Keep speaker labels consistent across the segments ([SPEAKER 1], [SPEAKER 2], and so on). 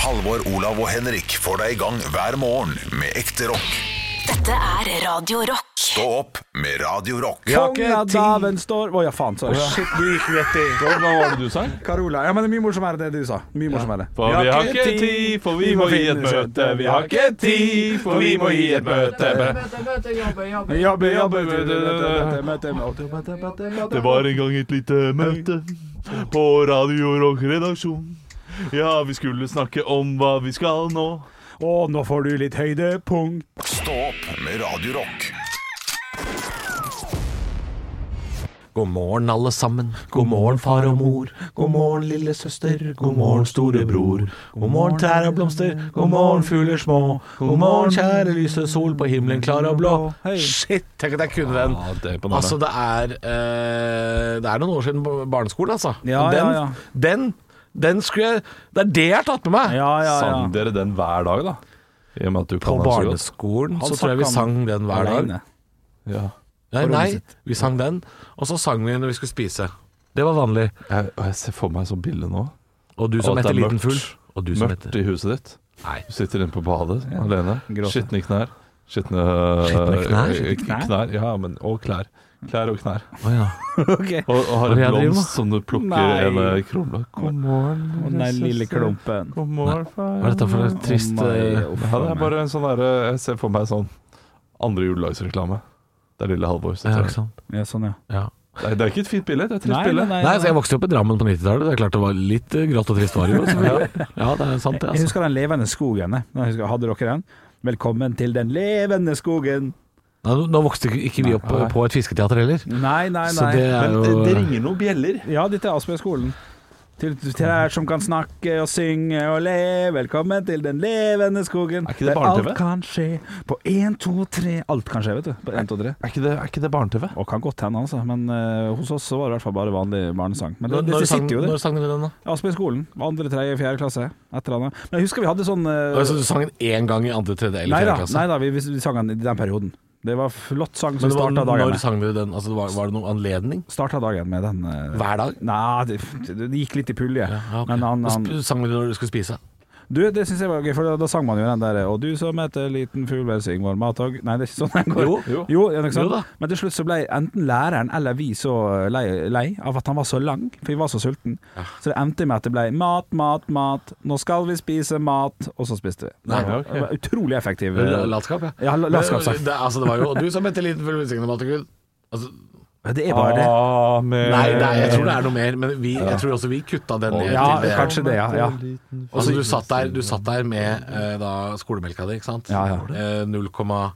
[SPEAKER 1] Halvor, Olav og Henrik får deg i gang hver morgen med ekte rock.
[SPEAKER 2] Dette er Radio Rock.
[SPEAKER 1] Stå opp med Radio Rock.
[SPEAKER 3] Ja. har ikke
[SPEAKER 4] Kongen av
[SPEAKER 3] ting.
[SPEAKER 4] daven står Å ja, faen, sorry.
[SPEAKER 3] Shit, du gikk rett i.
[SPEAKER 5] Hva var det du sang?
[SPEAKER 4] Carola. Ja, men det er mye morsommere enn det du sa. Mye morsommere.
[SPEAKER 5] For vi har ikke tid, for vi må i et møte. Vi har ikke tid, for vi må i et møte.
[SPEAKER 4] Jobbe,
[SPEAKER 5] jobbe, møte,
[SPEAKER 4] møte, møte,
[SPEAKER 5] Det var en gang et lite møte på Radio Rock redaksjon. Ja, vi skulle snakke om hva vi skal nå.
[SPEAKER 4] Og nå får du litt høydepunkt.
[SPEAKER 1] Stå opp med Radio Rock.
[SPEAKER 3] God morgen, alle sammen. God morgen, far og mor. God morgen, lille søster. God morgen, store bror. God morgen, trær og blomster. God morgen, fugler små. God morgen, kjære lyse sol på himmelen klar og blå. Shit, tenk at jeg kunne den. Altså, det er, eh, det er noen år siden på barneskolen, altså.
[SPEAKER 4] Ja,
[SPEAKER 3] den,
[SPEAKER 4] ja, ja.
[SPEAKER 3] den, den skulle jeg Det er det jeg har tatt med meg.
[SPEAKER 4] Ja, ja,
[SPEAKER 5] Sang
[SPEAKER 4] ja.
[SPEAKER 5] dere den hver dag, da? I og med at du
[SPEAKER 3] På
[SPEAKER 5] kan den så godt.
[SPEAKER 3] barneskolen så tror jeg vi sang den hver dag.
[SPEAKER 4] Alene.
[SPEAKER 5] Ja.
[SPEAKER 3] Nei,
[SPEAKER 4] rommet
[SPEAKER 3] nei, vi sang den, og så sang vi når vi skulle spise. Det var vanlig.
[SPEAKER 5] Jeg, og jeg ser for meg så bilde nå.
[SPEAKER 3] Og du som
[SPEAKER 5] at det
[SPEAKER 3] heter
[SPEAKER 5] er
[SPEAKER 3] Liten
[SPEAKER 5] mørkt.
[SPEAKER 3] Fugl. Og du som
[SPEAKER 5] Mørkt
[SPEAKER 3] heter
[SPEAKER 5] i huset ditt.
[SPEAKER 3] Nei.
[SPEAKER 5] Du sitter inne på badet alene.
[SPEAKER 4] gråter.
[SPEAKER 5] Skitne knær. Skitne
[SPEAKER 3] Skitne knær?
[SPEAKER 5] øh,
[SPEAKER 4] Skitne knær?
[SPEAKER 5] knær. Ja, men, og klær. Klær og knær.
[SPEAKER 3] Å ja.
[SPEAKER 4] Ok.
[SPEAKER 5] Og, og har
[SPEAKER 3] Hva er
[SPEAKER 5] en
[SPEAKER 3] det jeg driver med?
[SPEAKER 5] blomst som du plukker
[SPEAKER 4] Nei.
[SPEAKER 5] en eh, krone God morgen,
[SPEAKER 4] Og den der lille klumpen.
[SPEAKER 5] God morgen, far.
[SPEAKER 3] Hva er dette for et trist
[SPEAKER 4] Å,
[SPEAKER 3] eh,
[SPEAKER 4] nei, uff,
[SPEAKER 5] Ja, det er bare en sånn derre Jeg ser for meg sånn andre julelagsreklame. Det er lille Halvor.
[SPEAKER 3] eh, ja,
[SPEAKER 5] sitter
[SPEAKER 3] ikke
[SPEAKER 5] der.
[SPEAKER 3] sant?
[SPEAKER 4] Ja, sånn, ja.
[SPEAKER 3] Ja.
[SPEAKER 5] Nei, det er ikke et fint bilde, det er et trist bilde.
[SPEAKER 3] Nei, altså, jeg vokste jo opp i Drammen på 90-tallet. Det er klart det var litt eh, grått og trist var det jo. selvfølgelig. Ja, det er sant det,
[SPEAKER 4] Jeg
[SPEAKER 3] altså.
[SPEAKER 4] husker den levende skogen. jeg. Jeg husker, hadde dere den? Velkommen til den levende skogen.
[SPEAKER 3] Nei, nå- nå vokste ikke- ikke vi opp eh, på et fisketeater heller.
[SPEAKER 4] Nei, nei,
[SPEAKER 3] Så
[SPEAKER 4] nei.
[SPEAKER 3] det er
[SPEAKER 5] Men det, det
[SPEAKER 3] jo
[SPEAKER 5] ringer noen bjeller.
[SPEAKER 4] Ja, dette er Aspmyr-skolen. Til til dere som kan snakke og synge og le, velkommen til den levende skogen.
[SPEAKER 5] Er ikke
[SPEAKER 4] Der
[SPEAKER 5] det barne-TV?
[SPEAKER 4] Alt kan skje på én, to, tre. Alt kan skje, vet du. På én, to, tre.
[SPEAKER 5] Er ikke det, er ikke det barne-TV?
[SPEAKER 4] Og kan godt hende, altså. Men eh, hos oss så var det i hvert fall bare vanlig barnesang. Men det,
[SPEAKER 3] Når-
[SPEAKER 4] det
[SPEAKER 3] Når sang
[SPEAKER 4] sitter jo der.
[SPEAKER 3] når sang dere den, da?
[SPEAKER 4] Aspmyr-skolen. Andre, tredje, fjerde klasse. Et eller annet. Men jeg husker vi hadde sånn eh,
[SPEAKER 3] Altså, du sang den én gang i andre, tredje eller
[SPEAKER 4] Nei da,
[SPEAKER 3] fjerde klasse?
[SPEAKER 4] nei da vi, vi vi sang den i den perioden. Det var flott sang som
[SPEAKER 3] Men
[SPEAKER 4] vi
[SPEAKER 3] det var,
[SPEAKER 4] starta dagen
[SPEAKER 3] når
[SPEAKER 4] med.
[SPEAKER 3] sang dere den? Altså, det var, var det noen anledning?
[SPEAKER 4] Starta dagen med den eh,
[SPEAKER 3] Hver dag?
[SPEAKER 4] Nei, det, det gikk litt i pulje.
[SPEAKER 3] Ja, ok.
[SPEAKER 4] Men han, han
[SPEAKER 3] Sp- Sang dere når dere skulle spise?
[SPEAKER 4] Du, det syns jeg var gøy, for da, da sang man jo den der Og du som heter liten fugl, vel syng vår mat og Nei, det er ikke sånn den går.
[SPEAKER 3] Jo,
[SPEAKER 5] jo.
[SPEAKER 4] ja, ikke sant?
[SPEAKER 3] Jo da.
[SPEAKER 4] Men til slutt så ble enten læreren eller vi så lei, lei av at han var så lang, for vi var så sulten. Så det endte med at det ble mat, mat, mat. Nå skal vi spise mat. Og så spiste vi.
[SPEAKER 3] Nei,
[SPEAKER 4] det var-
[SPEAKER 5] ok.
[SPEAKER 4] det var utrolig effektiv.
[SPEAKER 3] Eller Latskap, ja.
[SPEAKER 4] Ja, la- Eh, latskap, sagt.
[SPEAKER 3] Det, det, altså, det var jo Du som heter Liten full velsignet Matakud. Altså,
[SPEAKER 4] Det er bare det.
[SPEAKER 5] Amen.
[SPEAKER 3] nei, det er, jeg tror det er noe mer, men vi, jeg tror også vi kutta den ned
[SPEAKER 4] Ja,
[SPEAKER 3] til det.
[SPEAKER 4] kanskje det, ja. ja.
[SPEAKER 3] Altså, du satt der, du satt der med eh, da, skolemelka di, ikke sant?
[SPEAKER 4] Ja, ja.
[SPEAKER 3] Eh, 0,25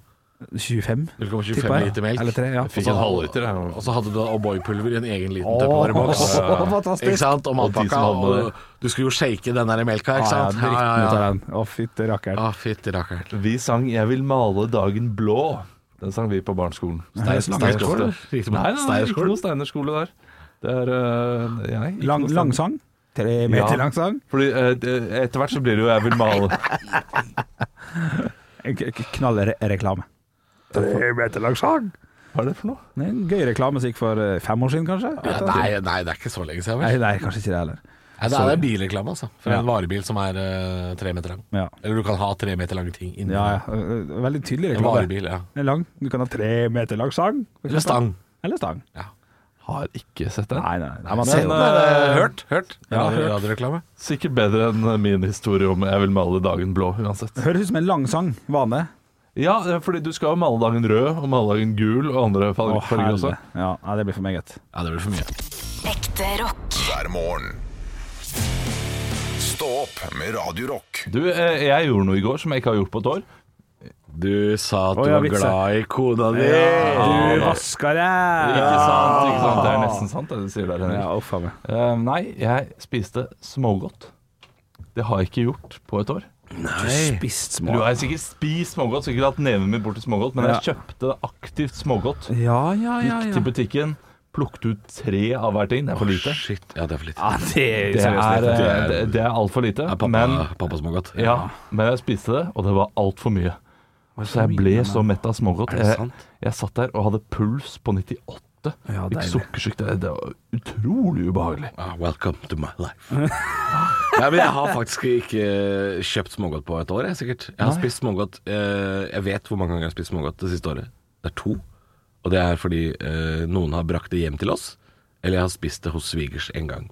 [SPEAKER 4] 25, tipper jeg.
[SPEAKER 3] liter melk.
[SPEAKER 4] Eller tre, ja.
[SPEAKER 3] Og så-
[SPEAKER 5] Fikk en halvliter, jeg.
[SPEAKER 3] Og så hadde du da O'boy-pulver i en egen liten
[SPEAKER 4] Åh,
[SPEAKER 3] Tupperware-boks. Ikke
[SPEAKER 4] fantastisk.
[SPEAKER 3] sant? Og
[SPEAKER 5] de
[SPEAKER 3] matpakka.
[SPEAKER 5] som hadde
[SPEAKER 3] Og du skulle jo shake den der melka, ikke sant?
[SPEAKER 4] Ah, Ja, ja, dritten ut av den. Å, fytti rakkeren.
[SPEAKER 3] Å, fytti rakkeren.
[SPEAKER 5] Vi sang 'Jeg vil male dagen blå'. Den sang vi på barneskolen.
[SPEAKER 3] Steinerskål, eller? Riktig
[SPEAKER 5] Nei, nei,
[SPEAKER 3] med
[SPEAKER 5] nei, ikke
[SPEAKER 3] Steinerskål.
[SPEAKER 5] noe steinerskole der. Det er eh, nei, ikke
[SPEAKER 4] Lang,
[SPEAKER 5] noe
[SPEAKER 4] lang
[SPEAKER 5] Steiner-
[SPEAKER 4] sang? Tre meter
[SPEAKER 5] Ja.
[SPEAKER 4] lang sang?
[SPEAKER 5] Fordi eh, det- etter hvert så blir det jo 'Jeg vil male'.
[SPEAKER 4] K- k- Knallreklame. Tre meter lang sang?
[SPEAKER 5] Hva er det for noe?
[SPEAKER 4] Det er En gøy reklame som gikk for eh, fem år siden, kanskje?
[SPEAKER 3] Ja, Nei, nei, det er ikke så lenge siden, vel?
[SPEAKER 4] Nei, nei, kanskje ikke det heller.
[SPEAKER 3] Nei, det er det bilreklame, altså. For
[SPEAKER 4] Ja.
[SPEAKER 3] en varebil som er eh, tre meter lang.
[SPEAKER 4] Ja.
[SPEAKER 3] Eller du kan ha tre meter lange ting inni.
[SPEAKER 4] Ja, ja. eh, Veldig tydelig
[SPEAKER 3] En
[SPEAKER 4] reklame.
[SPEAKER 3] varebil, ja.
[SPEAKER 4] Den er lang. Du kan ha tre meter lang sang. for
[SPEAKER 3] Eller
[SPEAKER 4] eksempel.
[SPEAKER 3] stang.
[SPEAKER 4] Eller stang.
[SPEAKER 5] Har ikke sett den.
[SPEAKER 4] Nei, nei, nei.
[SPEAKER 3] Se,
[SPEAKER 4] Men,
[SPEAKER 3] nei,
[SPEAKER 4] eh,
[SPEAKER 3] det- hørt? Hørt?
[SPEAKER 4] Ja,
[SPEAKER 3] Radio-
[SPEAKER 4] hørt.
[SPEAKER 3] Radioreklame?
[SPEAKER 5] Sikkert bedre enn eh, min historie om 'Jeg vil male dagen blå', uansett.
[SPEAKER 4] Høres ut som en lang sang. Vane.
[SPEAKER 5] Ja, det er fordi du skal jo male dagen rød, og male dagen gul, og andre
[SPEAKER 4] Å,
[SPEAKER 5] farger farger også.
[SPEAKER 4] helvete. Ja, nei, det blir for meget.
[SPEAKER 3] Ja, det blir for mye.
[SPEAKER 2] Ekte rock.
[SPEAKER 1] Hver morgen. Stå opp med Radio Rock.
[SPEAKER 5] Du, eh, jeg gjorde noe i går som jeg ikke har gjort på et år.
[SPEAKER 3] Du sa at
[SPEAKER 4] Å,
[SPEAKER 3] du
[SPEAKER 4] ja,
[SPEAKER 3] var
[SPEAKER 4] vitser.
[SPEAKER 3] glad i kona di.
[SPEAKER 4] Du
[SPEAKER 3] Ja.
[SPEAKER 4] vasker
[SPEAKER 5] Ikke
[SPEAKER 4] deg!
[SPEAKER 5] sant? ikke sant? Det er nesten sant, det du sier der, Henrik.
[SPEAKER 4] Ja, uff a meg.
[SPEAKER 5] Eh, nei, jeg spiste smågodt. Det har jeg ikke gjort på et år.
[SPEAKER 3] Nei.
[SPEAKER 4] Spist
[SPEAKER 5] Du
[SPEAKER 4] små.
[SPEAKER 5] har sikkert spist smågodt, sikkert hatt neven min bort til smågodt, men
[SPEAKER 4] Ja.
[SPEAKER 5] jeg kjøpte aktivt smågodt.
[SPEAKER 4] Ja, ja, ja. ja.
[SPEAKER 5] Gikk til butikken, plukket ut tre av hver ting. Det er for lite.
[SPEAKER 3] Shit. Ja, det er for litt.
[SPEAKER 4] ja det er
[SPEAKER 5] Det er,
[SPEAKER 4] seriøst.
[SPEAKER 5] eh, det- det er altfor lite.
[SPEAKER 3] Er pappa,
[SPEAKER 5] men,
[SPEAKER 3] pappa smågodt?
[SPEAKER 5] ja, men jeg spiste det, og det var altfor mye. Så jeg ble så mett av smågodt.
[SPEAKER 3] Er det
[SPEAKER 5] Jeg,
[SPEAKER 3] sant?
[SPEAKER 5] jeg satt der og hadde puls på 98 søte.
[SPEAKER 4] Ja,
[SPEAKER 5] Fikk
[SPEAKER 4] deilig.
[SPEAKER 5] sukkersyk. Det, det var utrolig ubehagelig.
[SPEAKER 3] Ah, welcome to my life. Nei, men jeg har faktisk ikke eh, kjøpt smågodt på et år, jeg, sikkert. Jeg har spist smågodt eh, Jeg vet hvor mange ganger jeg har spist smågodt det siste året. Det er to. Og det er fordi eh, noen har brakt det hjem til oss, eller jeg har spist det hos svigers en gang.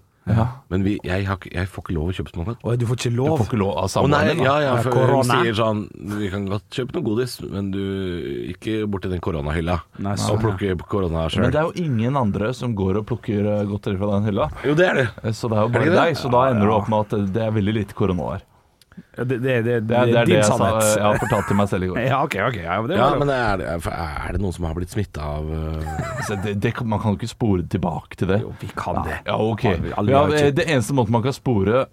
[SPEAKER 3] Men vi, jeg, har, ikke- jeg får ikke lov å kjøpe smågodt.
[SPEAKER 4] Oi, du får ikke
[SPEAKER 5] Du
[SPEAKER 4] lov.
[SPEAKER 5] får ikke lov av
[SPEAKER 3] Å nei,
[SPEAKER 5] samboeren din.
[SPEAKER 3] ja,
[SPEAKER 5] da.
[SPEAKER 3] ja,
[SPEAKER 4] Det er
[SPEAKER 3] for hun
[SPEAKER 4] korona.
[SPEAKER 3] sier sånn Vi kan godt kjøpe noe godis, men du ikke borti den koronahylla
[SPEAKER 4] Nei,
[SPEAKER 3] og
[SPEAKER 4] sånn,
[SPEAKER 3] plukke korona
[SPEAKER 5] Men
[SPEAKER 3] sjøl.
[SPEAKER 5] det er jo ingen andre som går og plukker eh, godteri fra den hylla.
[SPEAKER 3] Jo, det er det.
[SPEAKER 5] Eh, Så det er jo
[SPEAKER 3] Er det
[SPEAKER 5] bare
[SPEAKER 3] ikke det?
[SPEAKER 5] deg, så da ender du opp med at det er veldig lite korona her.
[SPEAKER 4] Ja, Det, det, det,
[SPEAKER 5] Det er, det er
[SPEAKER 4] din
[SPEAKER 5] det jeg, sa,
[SPEAKER 4] sannhet.
[SPEAKER 5] jeg har fortalt til meg selv i går.
[SPEAKER 4] Ja, ok, ok. Ja, men det
[SPEAKER 3] Ja,
[SPEAKER 4] var lov.
[SPEAKER 3] men er det, er det noen som har blitt smitta av eh,
[SPEAKER 5] Så Altså, det, det, kan- man kan jo ikke spore tilbake til det.
[SPEAKER 4] Jo, vi kan det.
[SPEAKER 5] Ja, ok.
[SPEAKER 4] Alle- alle
[SPEAKER 5] Ja, eh,
[SPEAKER 4] har jo ikke-
[SPEAKER 5] det eneste måten man kan spore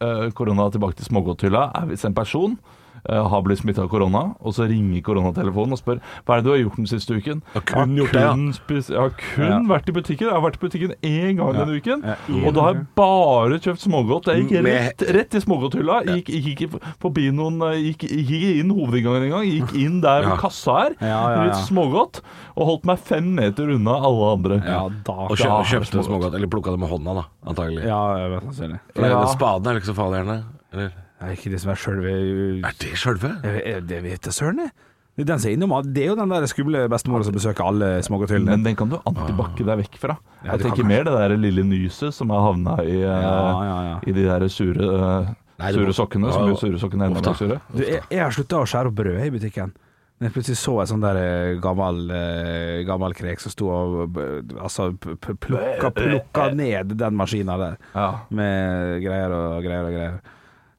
[SPEAKER 5] eh, korona tilbake til smågodthylla, er hvis en person eh, har blitt smitta av korona, og så ringer koronatelefonen og spør hva er det du har gjort den siste uken. Jeg har
[SPEAKER 3] kun gjort det, ja.
[SPEAKER 5] kun spist- jeg har kun vært i butikken. Jeg har vært i butikken én gang denne uken,
[SPEAKER 4] Ja,
[SPEAKER 5] og da har jeg bare kjøpt smågodt. Jeg gikk
[SPEAKER 3] Med-
[SPEAKER 5] rett, rett i smågodthylla. Gikk, gikk ikke forbi noen eh, Gikk gikk ikke inn hovedinngangen engang. Gikk inn der
[SPEAKER 3] Ja.
[SPEAKER 5] ved kassa her,
[SPEAKER 4] Ja, ja, ja.
[SPEAKER 5] litt smågodt, og holdt meg fem meter unna alle andre.
[SPEAKER 4] Ja, da
[SPEAKER 5] Da
[SPEAKER 3] Og kjø,
[SPEAKER 5] har du
[SPEAKER 3] kjøpte
[SPEAKER 5] smågodt.
[SPEAKER 3] smågodt. Eller plukka det med hånda, da, antagelig.
[SPEAKER 4] Ja, mest sannsynlig.
[SPEAKER 3] For
[SPEAKER 5] Ja.
[SPEAKER 3] Spaden er vel ikke så farlig, gjerne? Eller
[SPEAKER 4] Det er ikke det som er sjølve
[SPEAKER 3] er det sjølve?
[SPEAKER 4] Det vet jeg søren, jeg. Det er, den som er innom, det er jo den der skumle bestemora som besøker alle smågodthyllene.
[SPEAKER 5] Men den kan du antibakke deg vekk fra.
[SPEAKER 4] Ja,
[SPEAKER 5] Jeg
[SPEAKER 4] du kan
[SPEAKER 5] tenker mer det der lille nyset som har havna i, eh,
[SPEAKER 4] Ja, ja, ja.
[SPEAKER 5] i de der sure, eh,
[SPEAKER 3] Nei, det må-
[SPEAKER 5] sure sokkene. Som
[SPEAKER 3] Ja,
[SPEAKER 5] gjør sure sokkene enda
[SPEAKER 3] ofte.
[SPEAKER 5] mer sure.
[SPEAKER 4] Du, jeg, jeg har slutta å skjære opp brødet i butikken. Men jeg plutselig så en sånn der eh, gammel, eh, gammel krek som sto og eh, altså, p- p- plukka, plukka ned den maskina der,
[SPEAKER 5] Ja.
[SPEAKER 4] med greier og greier og greier.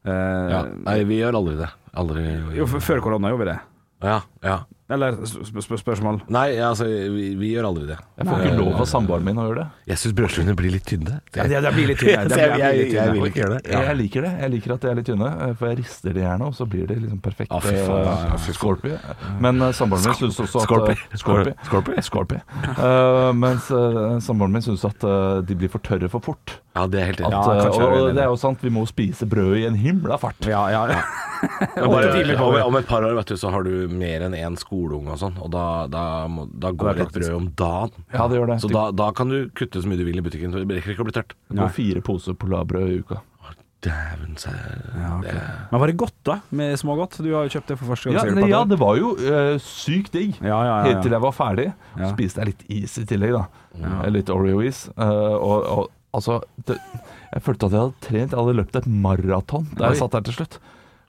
[SPEAKER 4] Eh,
[SPEAKER 3] Ja. Nei, vi gjør aldri det. Aldri
[SPEAKER 4] jo, f- før korona gjorde vi det.
[SPEAKER 3] Ja. ja.
[SPEAKER 4] Eller sp sp sp spørsmål?
[SPEAKER 3] Nei, altså, vi, vi gjør aldri det.
[SPEAKER 5] Jeg får ikke lov av samboeren min å gjøre det.
[SPEAKER 3] Jeg syns brødskivene blir litt tynne.
[SPEAKER 4] Ja, det, det blir litt tynne. Det
[SPEAKER 3] Så jeg-
[SPEAKER 4] blir, det blir litt
[SPEAKER 3] jeg
[SPEAKER 4] tynne.
[SPEAKER 3] vil ikke gjøre det.
[SPEAKER 5] Jeg- Jeg liker det. Jeg liker at de er litt tynne, eh, for jeg rister de gjerne, og så blir de liksom perfekt.
[SPEAKER 3] Ja, fy faen, ja, ja,
[SPEAKER 5] eh, Scorpio. Men eh, samboeren min syns også at
[SPEAKER 3] Scorpio.
[SPEAKER 5] eh, Scorpio. Scorpio. Eh, mens eh, samboeren min syns at eh, de blir for tørre for fort.
[SPEAKER 3] Ja, det er helt
[SPEAKER 5] At,
[SPEAKER 3] enig.
[SPEAKER 5] eh,
[SPEAKER 4] kanskje jeg er
[SPEAKER 5] og,
[SPEAKER 4] enig i
[SPEAKER 5] og det er jo sant, vi må spise brød i en himla fart.
[SPEAKER 4] Ja, ja, ja.
[SPEAKER 3] Men
[SPEAKER 4] Åtte timer
[SPEAKER 3] bare,
[SPEAKER 4] på
[SPEAKER 3] eh, om,
[SPEAKER 4] det.
[SPEAKER 3] om et par år vet du, så har du mer enn én skoleunge og sånn, og da, da, må, da går det et brød om dagen.
[SPEAKER 5] Ja, det gjør det.
[SPEAKER 3] Så da, da kan du kutte så mye du vil i butikken. så Det rekker ikke å bli tørt.
[SPEAKER 5] Det går fire poser polarbrød i uka.
[SPEAKER 3] Dæven, så
[SPEAKER 4] ja ok. Men var det godt, da? Med smågodt? Du har jo kjøpt det for første gang.
[SPEAKER 5] Ja,
[SPEAKER 4] sikkert,
[SPEAKER 5] nei,
[SPEAKER 4] på et
[SPEAKER 5] ja,
[SPEAKER 4] år.
[SPEAKER 5] det var jo eh, sykt digg.
[SPEAKER 4] ja, ja, ja,
[SPEAKER 5] Helt til jeg var ferdig.
[SPEAKER 4] Ja.
[SPEAKER 5] Så spiste jeg litt is i tillegg, da. Eh, Litt Oreo-is. eh, og, og altså det, Jeg følte at jeg hadde trent. Jeg hadde løpt et maraton da jeg satt der til slutt.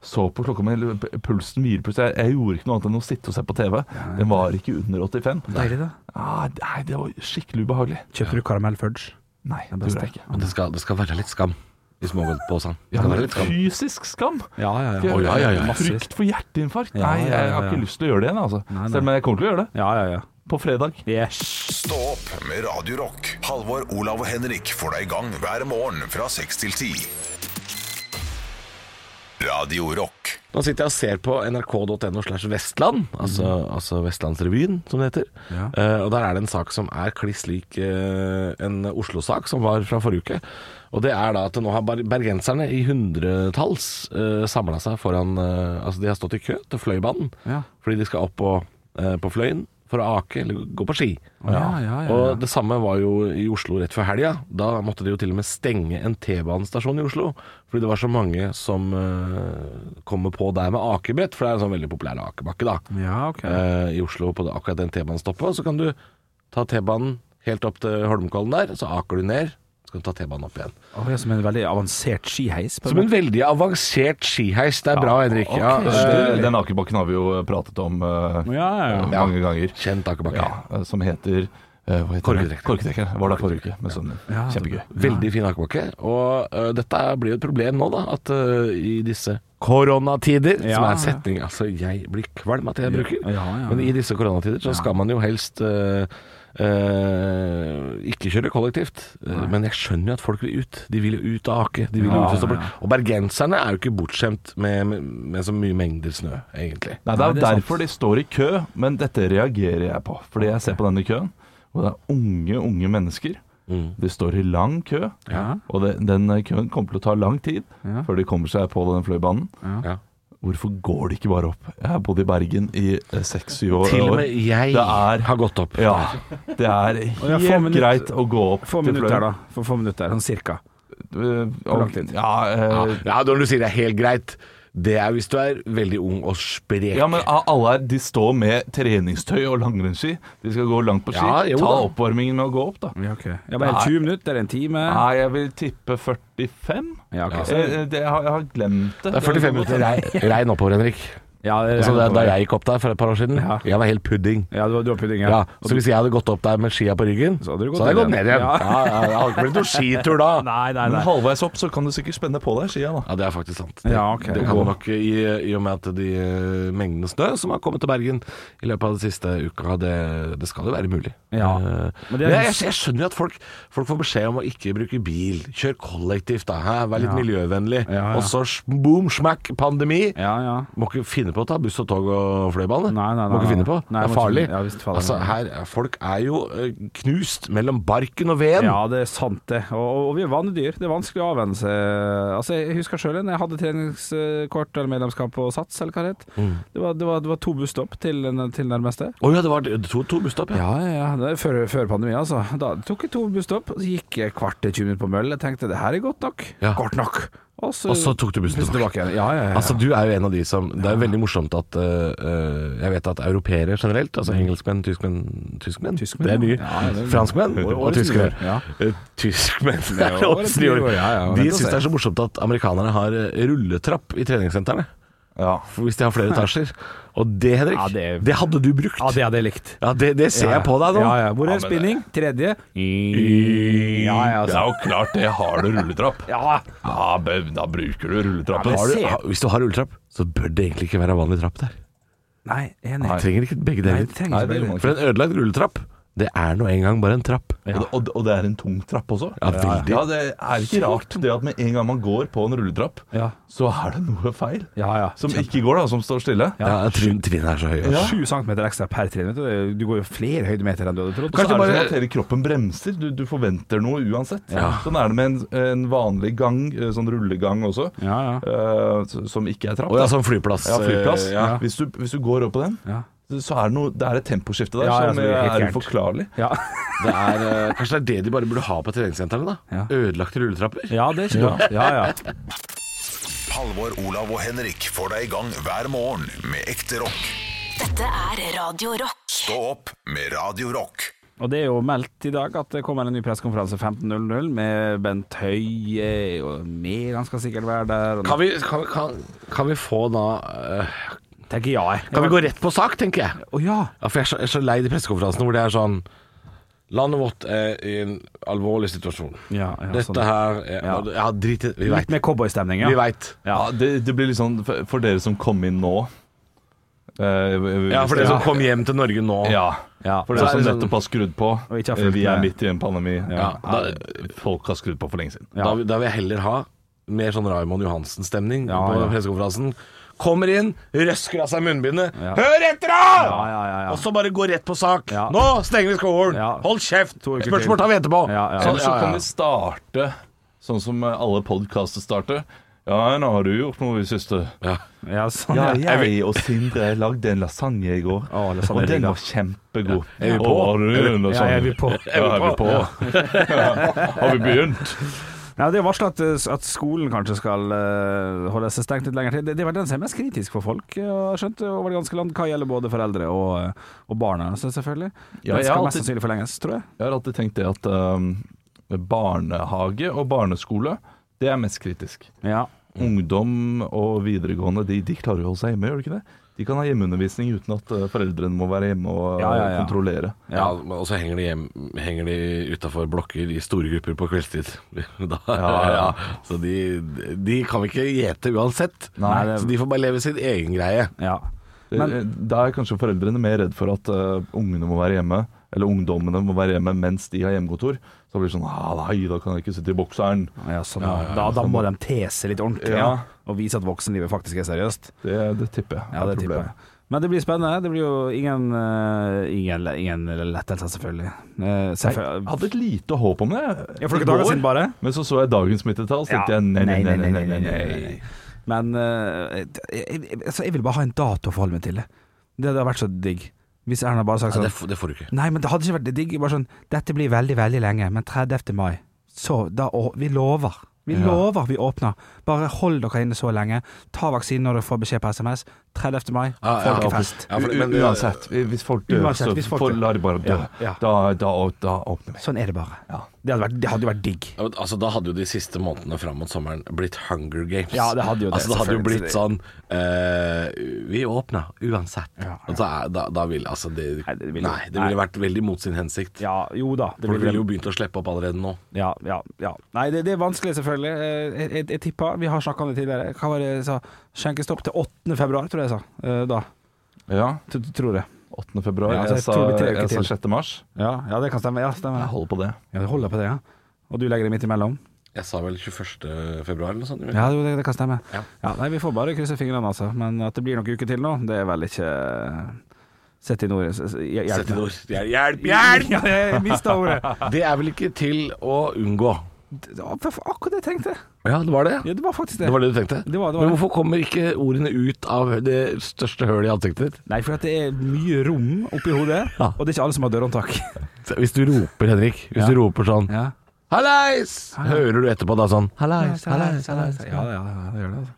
[SPEAKER 5] Så på klokka mi, eller p- pulsen hvilepulsen. Jeg, jeg gjorde ikke noe annet enn å sitte og se på TV. Den var ikke under 85.
[SPEAKER 4] Deilig, da.
[SPEAKER 5] Ah, nei, det var skikkelig ubehagelig.
[SPEAKER 4] Kjøpte du karamellfudge?
[SPEAKER 5] Nei, det gjorde jeg ikke.
[SPEAKER 3] Men det skal, det skal være litt skam i smågodtposen. sånn. Det
[SPEAKER 5] Ja,
[SPEAKER 3] skal
[SPEAKER 5] men
[SPEAKER 3] være litt skam.
[SPEAKER 5] fysisk skam!
[SPEAKER 4] Ja, ja, ja.
[SPEAKER 3] Å, ja, ja, ja.
[SPEAKER 5] Frykt for hjerteinfarkt.
[SPEAKER 4] Ja,
[SPEAKER 5] Nei,
[SPEAKER 4] ja,
[SPEAKER 5] jeg
[SPEAKER 4] ja,
[SPEAKER 5] har
[SPEAKER 4] ja.
[SPEAKER 5] ikke lyst til å gjøre det igjen, altså.
[SPEAKER 4] Nei, nei.
[SPEAKER 5] Selv om jeg kommer til å gjøre det.
[SPEAKER 4] ja, ja, ja.
[SPEAKER 5] På fredag.
[SPEAKER 4] Yes.
[SPEAKER 1] Stå opp med Radio Rock. Halvor, Olav og Henrik får deg i gang hver morgen fra 6 til 10. Radio Rock.
[SPEAKER 3] Nå sitter jeg og ser på nrk.no slash Vestland, altså, altså Vestlandsrevyen, som det heter.
[SPEAKER 4] Mm. Ja.
[SPEAKER 3] Eh, og der er det en sak som er kliss lik eh, en Oslo-sak som var fra forrige uke. Og det er da at nå har ber- bergenserne i hundretalls uh, samla seg foran eh, Altså de har stått i kø til Fløibanen
[SPEAKER 4] Ja.
[SPEAKER 3] fordi de skal opp på, eh, på Fløyen for å ake eller gå på ski.
[SPEAKER 4] Ja, ja, ja, ja.
[SPEAKER 3] Og det samme var jo i Oslo rett før helga. Da måtte de jo til og med stenge en T-banestasjon i Oslo, fordi det var så mange som eh, kommer på der med akebrett, for det er en sånn veldig populær akebakke da,
[SPEAKER 4] Ja, ok.
[SPEAKER 3] eh, i Oslo på det, akkurat den T-banestoppet. Og Så kan du ta T-banen helt opp til Holmenkollen der, så aker du ned, så kan du ta T-banen opp igjen.
[SPEAKER 4] Å, ja, som en veldig avansert skiheis. på en
[SPEAKER 3] Som en veldig avansert skiheis. Det er bra, Henrik. Ja, eh,
[SPEAKER 5] Den akebakken har vi jo pratet om eh,
[SPEAKER 4] måte. Ja, ja, ja.
[SPEAKER 5] mange ganger.
[SPEAKER 3] kjent akebakke.
[SPEAKER 5] Ja, eh, som heter eh, hva heter
[SPEAKER 3] Korketrekker.
[SPEAKER 5] den? Korketrekker. Jeg Var der forrige uke med sønnen min.
[SPEAKER 4] Ja,
[SPEAKER 5] Kjempegøy.
[SPEAKER 3] Veldig fin akebakke. Og ø, dette blir jo et problem nå, da. At ø, i disse koronatider,
[SPEAKER 4] Ja.
[SPEAKER 3] som er en setning Altså, jeg blir kvalm at jeg bruker.
[SPEAKER 4] Ja, ja.
[SPEAKER 3] Men i disse koronatider så skal man jo helst ø, ø, ikke kjøre kollektivt, eh, men jeg skjønner jo at folk vil ut. De vil jo ut og ake. De vil jo
[SPEAKER 4] Ja,
[SPEAKER 3] ut og, stå på-
[SPEAKER 4] ja.
[SPEAKER 3] og bergenserne er jo ikke bortskjemt med, med, med så mye mengder snø, egentlig.
[SPEAKER 5] Nei, det er jo
[SPEAKER 4] det er sant.
[SPEAKER 5] derfor de står i kø, men dette reagerer jeg på. Fordi jeg ser på denne køen, og det er unge, unge mennesker. De står i lang kø,
[SPEAKER 4] Mm. Ja.
[SPEAKER 5] og det, den køen kommer til å ta lang tid før de kommer seg på den fløibanen.
[SPEAKER 3] Ja.
[SPEAKER 5] Hvorfor går det ikke bare opp? Jeg har bodd i Bergen i eh, seks-syv år.
[SPEAKER 3] Til og med jeg
[SPEAKER 5] Det er-
[SPEAKER 3] har gått opp.
[SPEAKER 5] Ja. Det er
[SPEAKER 4] ja, få
[SPEAKER 5] helt
[SPEAKER 4] minutt-
[SPEAKER 5] greit å gå opp
[SPEAKER 4] Få minutter, da. For få minutter, sånn cirka.
[SPEAKER 5] Eh,
[SPEAKER 4] Hvor lang
[SPEAKER 5] og-
[SPEAKER 4] tid?
[SPEAKER 5] Ja,
[SPEAKER 3] Ja,
[SPEAKER 5] eh,
[SPEAKER 3] ja, når du sier det er helt greit, det er hvis du er veldig ung og sprek.
[SPEAKER 5] ja, men a- alle her de står med treningstøy og langrennsski. De skal gå langt på ski.
[SPEAKER 3] Ja, jo
[SPEAKER 5] Ta
[SPEAKER 3] da.
[SPEAKER 5] oppvarmingen med å gå opp, da.
[SPEAKER 4] Ja, ok. Ja, bare
[SPEAKER 5] Nei.
[SPEAKER 4] 20 minutter, en time.
[SPEAKER 5] Nei, jeg vil tippe 45.
[SPEAKER 4] Ja, ok.
[SPEAKER 5] Eh, eh, det, jeg, har, jeg har glemt det.
[SPEAKER 3] det er 45 minutter rei, rein oppover, Henrik.
[SPEAKER 4] Ja, det,
[SPEAKER 3] Altså, det, er da jeg gikk opp der for et par år siden,
[SPEAKER 4] Ja.
[SPEAKER 3] jeg var helt pudding.
[SPEAKER 4] ja, du, du har pudding,
[SPEAKER 3] Ja,
[SPEAKER 4] ja.
[SPEAKER 3] så hvis jeg hadde gått opp der med skia på ryggen,
[SPEAKER 4] Så hadde du gått
[SPEAKER 3] jeg gått
[SPEAKER 4] ned
[SPEAKER 3] ned
[SPEAKER 4] igjen.
[SPEAKER 3] igjen. Ja. Ja, det hadde ikke blitt noen skitur da.
[SPEAKER 4] Nei, nei,
[SPEAKER 5] Men
[SPEAKER 4] nei.
[SPEAKER 5] halvveis opp så kan du sikkert spenne på deg skia, da.
[SPEAKER 3] Ja, det er faktisk sant. Det,
[SPEAKER 4] Ja, ok.
[SPEAKER 3] det kan nok i, i og med at de eh, mengdene snø som har kommet til Bergen i løpet av den siste uka, det, det skal jo være mulig.
[SPEAKER 4] Ja.
[SPEAKER 3] Eh,
[SPEAKER 4] Men
[SPEAKER 3] Men
[SPEAKER 4] det er-
[SPEAKER 3] jeg, jeg skjønner jo at folk, folk får beskjed om å ikke bruke bil. Kjør kollektivt, da. Hæ? Vær litt miljøvennlig.
[SPEAKER 4] Ja, ja.
[SPEAKER 3] Og så sm- boom, smack, pandemi.
[SPEAKER 4] Ja, ja.
[SPEAKER 3] Må ikke finne på å ta buss og tog og fløybane.
[SPEAKER 4] Nei, nei, nei,
[SPEAKER 3] må ikke
[SPEAKER 4] nei.
[SPEAKER 3] finne på.
[SPEAKER 4] Nei,
[SPEAKER 3] det
[SPEAKER 4] må
[SPEAKER 3] er farlig.
[SPEAKER 4] ikke- ja, visst, farlig.
[SPEAKER 3] altså, her, folk er jo eh, knust mellom barken og veden.
[SPEAKER 4] Ja, det er sant det. Og, og vi er vanedyr. Det er vanskelig å avvenne seg. Altså, jeg husker sjøl en. Jeg hadde treningskort eller medlemskap på Sats, eller hva det het.
[SPEAKER 3] Mm.
[SPEAKER 4] Det, var, det, var, det var to busstopp til, til nærmeste.
[SPEAKER 3] Å ja, det var to, to busstopp, ja.
[SPEAKER 4] Ja, ja, ja. Det er før, før pandemien, altså. Da tok jeg to busstopp, så gikk jeg kvart til 20 minutter på møll. Jeg tenkte det her er godt nok.
[SPEAKER 3] Ja.
[SPEAKER 4] Godt nok. Og så,
[SPEAKER 3] Og så tok du bussen tilbake.
[SPEAKER 4] tilbake igjen. Ja, ja, ja.
[SPEAKER 3] Altså, du er jo en av de som Det er jo veldig morsomt at eh, eh, Jeg vet at europeere generelt, altså engelskmenn, tyskmenn Tyskmenn?
[SPEAKER 4] Mm. Tyskmenn,
[SPEAKER 3] det er nye.
[SPEAKER 4] ja. Ja, det er-
[SPEAKER 3] Franskmenn
[SPEAKER 4] Årets
[SPEAKER 3] og tyskere.
[SPEAKER 4] nyår, ja.
[SPEAKER 3] Eh, Tyskmenn det er
[SPEAKER 4] årets
[SPEAKER 3] årets nyår.
[SPEAKER 4] nyår, ja, ja,
[SPEAKER 3] De
[SPEAKER 4] vent og
[SPEAKER 3] syns
[SPEAKER 4] se.
[SPEAKER 3] det er så morsomt at amerikanerne har eh, rulletrapp i treningssentrene.
[SPEAKER 5] Ja.
[SPEAKER 3] for Hvis de har flere etasjer. Og det, Henrik,
[SPEAKER 4] Ja,
[SPEAKER 3] det,
[SPEAKER 4] det-
[SPEAKER 3] hadde du brukt.
[SPEAKER 4] ja, det hadde jeg likt.
[SPEAKER 3] Ja, det, det ser jeg på deg nå.
[SPEAKER 4] Ja, ja. Hvor
[SPEAKER 5] Ja,
[SPEAKER 4] er
[SPEAKER 5] men det-
[SPEAKER 4] spinning? Tredje? Ja, ja,
[SPEAKER 5] Det
[SPEAKER 4] altså.
[SPEAKER 5] er jo klart det. Har du rulletrapp?
[SPEAKER 4] Ja.
[SPEAKER 5] Ja, be- da bruker du
[SPEAKER 4] Ja,
[SPEAKER 5] rulletrappen.
[SPEAKER 4] men
[SPEAKER 3] Har du,
[SPEAKER 4] se.
[SPEAKER 3] ha, hvis du har rulletrapp, så bør det egentlig ikke være vanlig trapp der.
[SPEAKER 4] Nei, enig.
[SPEAKER 3] Du trenger ikke begge
[SPEAKER 4] Nei,
[SPEAKER 3] deler.
[SPEAKER 4] det trenger ikke
[SPEAKER 5] Nei, det
[SPEAKER 4] bli
[SPEAKER 5] må
[SPEAKER 3] For en ødelagt rulletrapp, det er nå engang bare en trapp.
[SPEAKER 5] Og, det, og det- og det er en tung trapp også.
[SPEAKER 3] Ja, veldig.
[SPEAKER 5] ja, det er ikke rart det at med en gang man går på en rulletrapp,
[SPEAKER 4] Ja.
[SPEAKER 5] så er det noe feil.
[SPEAKER 4] Ja, ja.
[SPEAKER 5] Som ikke går, da, som står stille.
[SPEAKER 3] Ja, trinn, trinn er så høye.
[SPEAKER 5] Ja.
[SPEAKER 4] Sju centimeter ekstra per trinn. vet Du Du går jo flere høydemeter enn du hadde trodd.
[SPEAKER 5] Og så er det
[SPEAKER 4] bare-
[SPEAKER 5] sånn at hele kroppen bremser. Du, du forventer noe uansett.
[SPEAKER 3] Ja.
[SPEAKER 5] Sånn er det med en, en vanlig gang, eh, sånn rullegang også,
[SPEAKER 4] Ja, ja.
[SPEAKER 5] eh, s- som ikke er trapp.
[SPEAKER 3] Å ja,
[SPEAKER 5] da.
[SPEAKER 3] sånn flyplass.
[SPEAKER 5] ja, flyplass.
[SPEAKER 3] eh, Ja.
[SPEAKER 5] Hvis, du, hvis du går opp på den,
[SPEAKER 4] Ja.
[SPEAKER 5] så er det, noe, det er et temposkifte der
[SPEAKER 4] Ja, ja, så
[SPEAKER 5] som
[SPEAKER 4] det er
[SPEAKER 5] eh,
[SPEAKER 4] helt
[SPEAKER 5] er
[SPEAKER 4] gærent.
[SPEAKER 5] uforklarlig.
[SPEAKER 4] Ja.
[SPEAKER 3] Det er, eh, kanskje det er det de bare burde ha på treningssentrene, da.
[SPEAKER 4] Ja.
[SPEAKER 3] Ødelagte rulletrapper.
[SPEAKER 4] ja, det er ikke dumt. Ja, ja.
[SPEAKER 1] Halvor, Olav og Henrik får deg i gang hver morgen med ekte rock.
[SPEAKER 2] Dette er Radio Rock.
[SPEAKER 1] Stå opp med Radio Rock.
[SPEAKER 4] Og det er jo meldt i dag at det kommer en ny pressekonferanse 15.00 med Bent Høie og mer. Han skal sikkert være der.
[SPEAKER 3] Kan
[SPEAKER 4] Og
[SPEAKER 3] vi, kan, vi- kan, kan vi få da eh,
[SPEAKER 4] tenker ja, jeg.
[SPEAKER 3] Kan vi gå rett på sak, tenker jeg.
[SPEAKER 4] Å ja.
[SPEAKER 3] Ja, for jeg er så, jeg er så lei de pressekonferansene hvor det er sånn Landet vårt er i en alvorlig situasjon.
[SPEAKER 4] ja, ja
[SPEAKER 3] Dette
[SPEAKER 4] sånn.
[SPEAKER 3] her er,
[SPEAKER 4] Ja.
[SPEAKER 3] ja, drit i Vi
[SPEAKER 4] Litt
[SPEAKER 3] veit.
[SPEAKER 4] mer cowboystemning, ja.
[SPEAKER 3] Vi veit.
[SPEAKER 5] Ja,
[SPEAKER 4] Ja.
[SPEAKER 5] det, det blir litt sånn for, for dere som kom inn nå eh, hvis-
[SPEAKER 3] Ja, for dere som kom hjem til Norge nå.
[SPEAKER 5] Ja.
[SPEAKER 4] Ja.
[SPEAKER 5] For
[SPEAKER 3] Så
[SPEAKER 5] dere
[SPEAKER 3] er
[SPEAKER 5] som
[SPEAKER 3] det sånn-
[SPEAKER 5] nettopp har skrudd på.
[SPEAKER 4] Og ikke har
[SPEAKER 5] eh,
[SPEAKER 4] fulgt
[SPEAKER 5] Vi er
[SPEAKER 4] med.
[SPEAKER 5] midt i en pandemi.
[SPEAKER 3] Ja, da,
[SPEAKER 5] Folk har skrudd på for lenge siden.
[SPEAKER 4] Ja.
[SPEAKER 3] Da, vil- da vil jeg heller ha mer sånn Raymond Johansen-stemning
[SPEAKER 4] Ja,
[SPEAKER 3] på
[SPEAKER 4] ja.
[SPEAKER 3] pressekonferansen. Kommer inn, røsker av seg munnbindet.
[SPEAKER 4] Ja.
[SPEAKER 3] Hør etter, da!
[SPEAKER 4] Ja, ja, ja, ja.
[SPEAKER 3] Og så bare gå rett på sak.
[SPEAKER 4] Ja.
[SPEAKER 3] Nå stenger vi skolen!
[SPEAKER 4] Ja.
[SPEAKER 3] Hold kjeft!
[SPEAKER 4] To uker
[SPEAKER 3] Spørsmål
[SPEAKER 4] til.
[SPEAKER 3] tar vi etterpå.
[SPEAKER 4] Ja, ja.
[SPEAKER 3] Sånn,
[SPEAKER 5] Eller så
[SPEAKER 3] ja,
[SPEAKER 5] kan
[SPEAKER 3] ja.
[SPEAKER 5] de starte sånn som eh, alle podkaster starter. Ja, nå har du gjort noe i det siste.
[SPEAKER 4] ja, sånn,
[SPEAKER 5] Ja,
[SPEAKER 4] ja.
[SPEAKER 5] jeg og Sindre lagde en lasagne i går,
[SPEAKER 4] Å, lasagne
[SPEAKER 5] og
[SPEAKER 4] er digg,
[SPEAKER 5] den
[SPEAKER 4] da.
[SPEAKER 5] var kjempegod.
[SPEAKER 3] Ja. Er vi på?
[SPEAKER 5] Og har du en
[SPEAKER 4] Ja,
[SPEAKER 5] lasagne?
[SPEAKER 4] er vi på?
[SPEAKER 5] Ja, er vi på? har vi begynt?
[SPEAKER 4] Nei, det er varsla at, eh, at skolen kanskje skal eh, holde seg stengt litt lenger til. Det, det var den som er mest kritisk for folk, eh, har jeg skjønt, over det ganske land. Hva gjelder både foreldre og, eh, og barna, så selvfølgelig.
[SPEAKER 5] Ja,
[SPEAKER 4] den
[SPEAKER 5] jeg har
[SPEAKER 4] skal
[SPEAKER 5] alltid-
[SPEAKER 4] mest sannsynlig forlenges, tror jeg.
[SPEAKER 5] Jeg har alltid tenkt det at um, barnehage og barneskole, det er mest kritisk.
[SPEAKER 4] Ja.
[SPEAKER 5] Ungdom og videregående, de, de klarer jo å holde seg hjemme, gjør de ikke det? De kan ha hjemmeundervisning uten at eh, foreldrene må være hjemme og eh,
[SPEAKER 4] Ja, ja, ja.
[SPEAKER 5] kontrollere.
[SPEAKER 3] Ja, men- og så henger de, hjem- henger de utafor blokker i store grupper på kveldstid. Da,
[SPEAKER 5] Ja, ja.
[SPEAKER 3] Så de, de kan vi ikke gjete uansett.
[SPEAKER 4] Nei, det-
[SPEAKER 3] Så de får bare leve sin egen greie.
[SPEAKER 4] ja. Men,
[SPEAKER 5] eh, da er kanskje foreldrene mer redd for at eh, ungene må være hjemme, eller ungdommene må være hjemme mens de har hjemmekontor. Så blir det sånn ah, Nei, da kan jeg ikke sitte i bokseren.
[SPEAKER 4] ja, sånn, Da, da må de tese litt ordentlig
[SPEAKER 5] Ja.
[SPEAKER 4] ja, og vise at voksenlivet faktisk er seriøst.
[SPEAKER 5] Det, det tipper jeg.
[SPEAKER 4] Ja, det
[SPEAKER 5] er
[SPEAKER 4] tipper
[SPEAKER 5] problemet.
[SPEAKER 4] jeg. Men det blir spennende. Det blir jo ingen, eh, ingen, ingen lettelser, selvfølgelig. Eh,
[SPEAKER 5] Jeg
[SPEAKER 4] selvfølgelig.
[SPEAKER 5] hadde et lite håp om det.
[SPEAKER 4] Ja, for
[SPEAKER 5] i
[SPEAKER 4] noen dager
[SPEAKER 5] går,
[SPEAKER 4] siden bare.
[SPEAKER 5] Men så så jeg dagens smittetall, så tenkte jeg nei, nei, nei. nei, nei, nei, nei.
[SPEAKER 4] Men eh, jeg, jeg, altså, jeg vil bare ha en dato å forholde meg til. Det Det hadde vært så digg. Hvis Erna bare sagt sånn
[SPEAKER 3] Nei, det, f- det får du ikke.
[SPEAKER 4] Nei, men det hadde ikke vært digg. Bare sånn Dette blir veldig, veldig lenge, men 30. mai Så da å, Vi lover. Vi lover vi åpner. Bare hold dere inne så lenge. Ta vaksinen når dere får beskjed på SMS. 30. mai,
[SPEAKER 3] Ja, ja,
[SPEAKER 4] folkefest.
[SPEAKER 3] Ja, for, men,
[SPEAKER 5] U- Uansett, hvis folk dør,
[SPEAKER 4] Uansett,
[SPEAKER 5] så
[SPEAKER 4] hvis folk
[SPEAKER 5] får-
[SPEAKER 4] dør.
[SPEAKER 5] lar de bare dø.
[SPEAKER 4] Ja, ja.
[SPEAKER 5] Da, da, da åpner vi.
[SPEAKER 4] Sånn er det bare.
[SPEAKER 5] Ja.
[SPEAKER 4] Det hadde, vært, det hadde jo vært digg.
[SPEAKER 3] Ja, men Altså, da hadde jo de siste månedene fram mot sommeren blitt Hunger Games.
[SPEAKER 4] Ja, det hadde jo det,
[SPEAKER 3] Altså, det hadde jo
[SPEAKER 4] selvfølgelig.
[SPEAKER 3] blitt sånn eh, Vi åpna uansett.
[SPEAKER 4] Ja, ja.
[SPEAKER 3] Og så er- da, da ville altså det,
[SPEAKER 4] Nei, det ville-
[SPEAKER 3] Nei, det ville vært veldig mot sin hensikt.
[SPEAKER 4] Ja, jo da. Det
[SPEAKER 3] For
[SPEAKER 4] blir
[SPEAKER 3] det ville jo begynt å slippe opp allerede nå.
[SPEAKER 4] Ja, ja, ja. Nei, det, det er vanskelig, selvfølgelig. Eh, Jeg, jeg, jeg tippa Vi har snakka om det tidligere. Hva var det jeg sa? Skjenkestopp til 8. februar, tror jeg jeg sa. Eh, Da.
[SPEAKER 5] Ja,
[SPEAKER 4] T- t- Tror jeg.
[SPEAKER 5] 8. februar.
[SPEAKER 4] Ja, altså, jeg
[SPEAKER 5] jeg, sa,
[SPEAKER 4] tror vi tre uker
[SPEAKER 5] jeg sa
[SPEAKER 4] til.
[SPEAKER 5] 6. mars.
[SPEAKER 4] Ja, ja, det kan stemme. Ja, stemmer.
[SPEAKER 5] Jeg
[SPEAKER 4] det.
[SPEAKER 5] holder på det.
[SPEAKER 4] Ja, det holder på det, ja. Og du legger det midt imellom?
[SPEAKER 3] Jeg sa vel 21. februar eller noe sånt.
[SPEAKER 4] Ja, jo, det, det kan stemme. Ja.
[SPEAKER 3] Ja.
[SPEAKER 4] nei, vi får bare krysse fingrene, altså. Men at det blir noen uker til nå, det er vel ikke eh, Sett i nord.
[SPEAKER 3] Sett
[SPEAKER 4] Hjelp.
[SPEAKER 3] inn
[SPEAKER 4] meg.
[SPEAKER 3] ord. Hjel- Hjelp, hjelp!
[SPEAKER 4] Ja, jeg mista ordet.
[SPEAKER 3] Det er vel ikke til å unngå.
[SPEAKER 4] Det var akkurat det jeg tenkte.
[SPEAKER 3] Ja, det var det.
[SPEAKER 4] Ja, det var faktisk det.
[SPEAKER 3] Det var det du tenkte?
[SPEAKER 4] Det var- det var
[SPEAKER 3] Men
[SPEAKER 4] det.
[SPEAKER 3] hvorfor kommer ikke ordene ut av det største hølet i ansiktet ditt?
[SPEAKER 4] Nei, for at det er mye rom oppi hodet,
[SPEAKER 3] Ja.
[SPEAKER 4] og det er ikke alle som har dørhåndtak.
[SPEAKER 3] Hvis du roper, Henrik, hvis
[SPEAKER 4] Ja.
[SPEAKER 3] du roper sånn
[SPEAKER 4] Ja.
[SPEAKER 3] Hallais! Hører du etterpå da sånn Hallais, hallais,
[SPEAKER 4] Ja,
[SPEAKER 3] hallais.
[SPEAKER 4] ja, ja, det gjør det. altså.